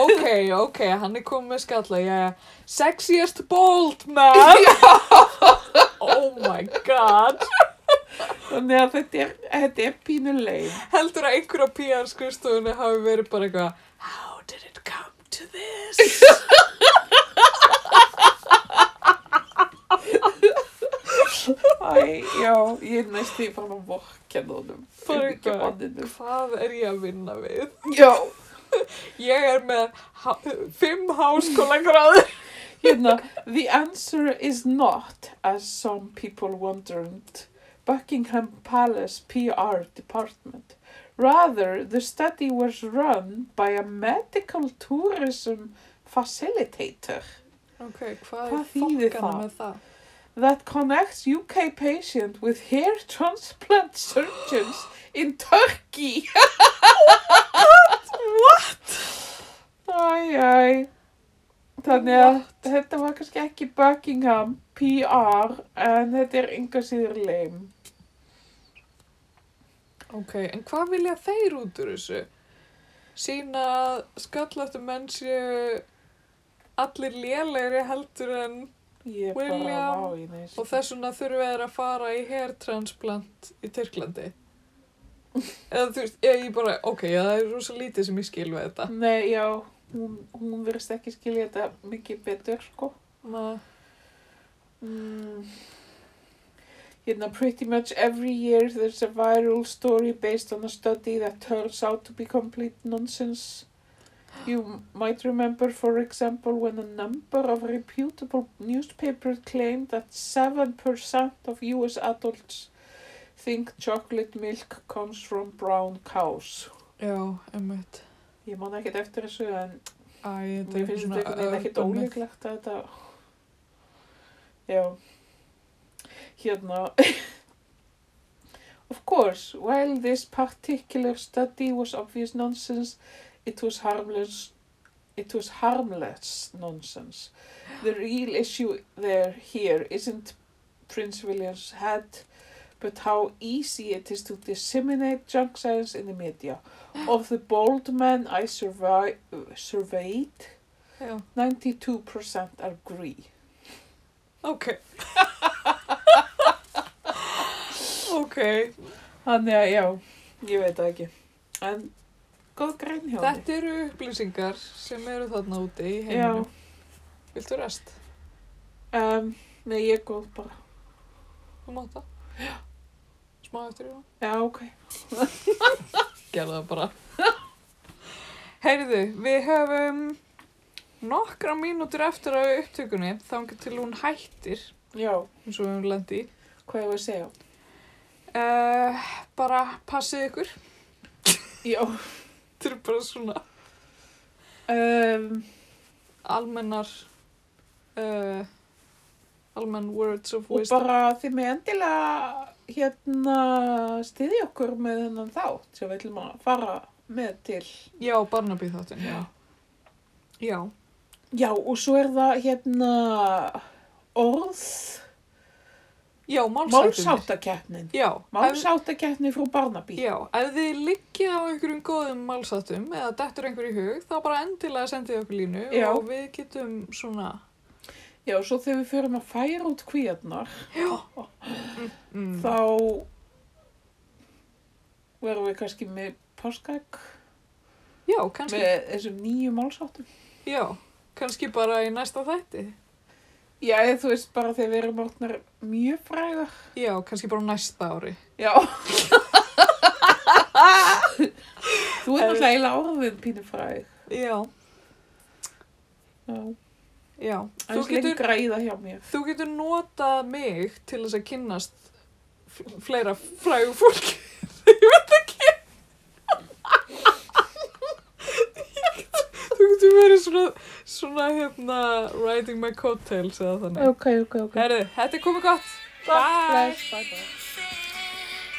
Ok, ok, hann er komið með skalla, ég Sexiest bold man! oh my god!
Þannig að þetta er, þetta er pínulegin.
Heldur að einhver á PR skrifstofunni hafi verið bara eitthvað How did it come to this?
Já, ég er næst því bara að vorkenna honum.
Bara
Fyrir ekki
eitthvað.
manninu.
Hvað er ég að vinna við?
Já,
Ég er með ha fimm háskóla gráður.
hérna, the answer is not, as some people wondered, Buckingham Palace PR department. Rather, the study was run by a medical tourism facilitator.
Ok, hvað,
Hvað
er
þýðir
fokkana
það?
með það?
that connects UK patient with hair transplant surgeons in Turkey. what? Æj, æj. Þannig að þetta var kannski ekki Buckingham PR en þetta er enga síður leim.
Ok, en hvað vilja þeir út úr þessu? Sýna að skallættu menn séu allir lélegri heldur en
Ég er
William
bara á í þessu.
og þess vegna þurfa þeir að fara í hairtransplant í Tyrklandi. Eða þú veist, ég, ég bara, ok, já, það er rosa lítið sem ég skil við þetta.
Nei, já, hún, hún verðist ekki skilja þetta mikið betur, sko.
Ma,
Mm. You know, pretty much every year there's a viral story based on a study that turns out to be complete nonsense. You m- might remember, for example, when a number of reputable newspapers claimed that 7% of US adults think chocolate milk comes from brown cows.
já, einmitt.
Ég man ekkert eftir þessu en
Æ, þetta
mér
er
finnst þetta einhvern veginn ekkert
urban myth.
ólíklegt að þetta já hérna of course while this particular study was obvious nonsense it was harmless it was harmless nonsense the real issue there here isn't Prince William's head but how easy it is to disseminate junk science in the media of the bold men I survey surveyed
Já,
92% agree.
ok. ok,
Þannig að já, ég veit það ekki. En góð grein hjá henni.
þetta eru upplýsingar sem eru þarna úti í heiminum. Viltu rest?
Um, nei, ég er góð bara.
Þú mátt það? Smá eftir í það?
Já, ok.
Gerðu það bara. Heyrðu, við höfum nokkra mínútur eftir að upptökunni þangar til hún hættir,
Já,
eins og við höfum lendi í.
hvað ég var að segja?
Uh, bara passið ykkur.
Já.
Þetta eru bara svona
Um,
almennar uh, almenn words of
og
wisdom
bara þið með endilega hérna stiðja okkur með þennan þátt sem við ætlum að fara með til.
já, Barnaby þáttin já. já,
Já, og svo er það hérna orð,
já, málsáttin
málsáttakeppnin.
já, ef,
Málsáttakeppni frú Barnaby.
já, ef þið liggja á einhverjum góðum málsáttum eða dettur einhver í hug, þá bara endilega sendið okkur línu
Já.
og við getum svona
Já, svo þegar við förum að færa út kvíarnar,
mm,
þá verðum við kannski með páskæk
já, kannski
með þessum nýju málsáttum.
já, kannski bara í næsta þætti
Já, eða þú veist bara þegar við erum orðnar mjög fræðar.
já, kannski bara á næsta ári
Já. þú er náttúrulega eiginlega orðin pínu fræð.
já,
Já,
já
en þú getur græða hjá mér.
Þú getur notað mig til þess að kynnast f- fleira frægu fólki. ég veit ekki. Ég get- Þú getur verið svona, svona hérna, riding my coattails eða þannig.
Ok, ok, ok.
Herðu, þetta er komið gott.
Bless, bye, bye.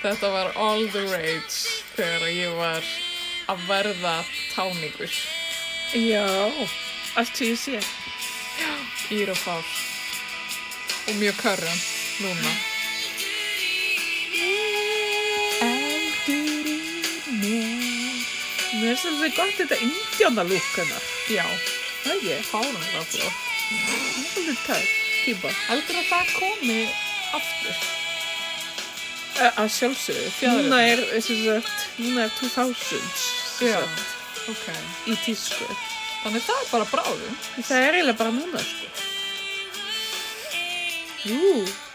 Þetta var all the rage þegar ég var að verða táningur.
Já, allt sem ég sé.
Ír og fár. Og mjög körran núna.
Eldur í mér. Mér finnst þetta gott þetta indjánalúk hennar.
Já,
Það er ég.
fárumlega flott.
Það er tætt. Týpa.
Heldur að það komi aftur?
Eh, Að sjálfsögðu.
Fjaðrir.
Núna er, eh, sem sagt, núna er 2000 sem
Já.
sagt,
Ok.
í tísku.
Þannig það er bara bráðum.
Það er eiginlega bara núna, sko. Jú,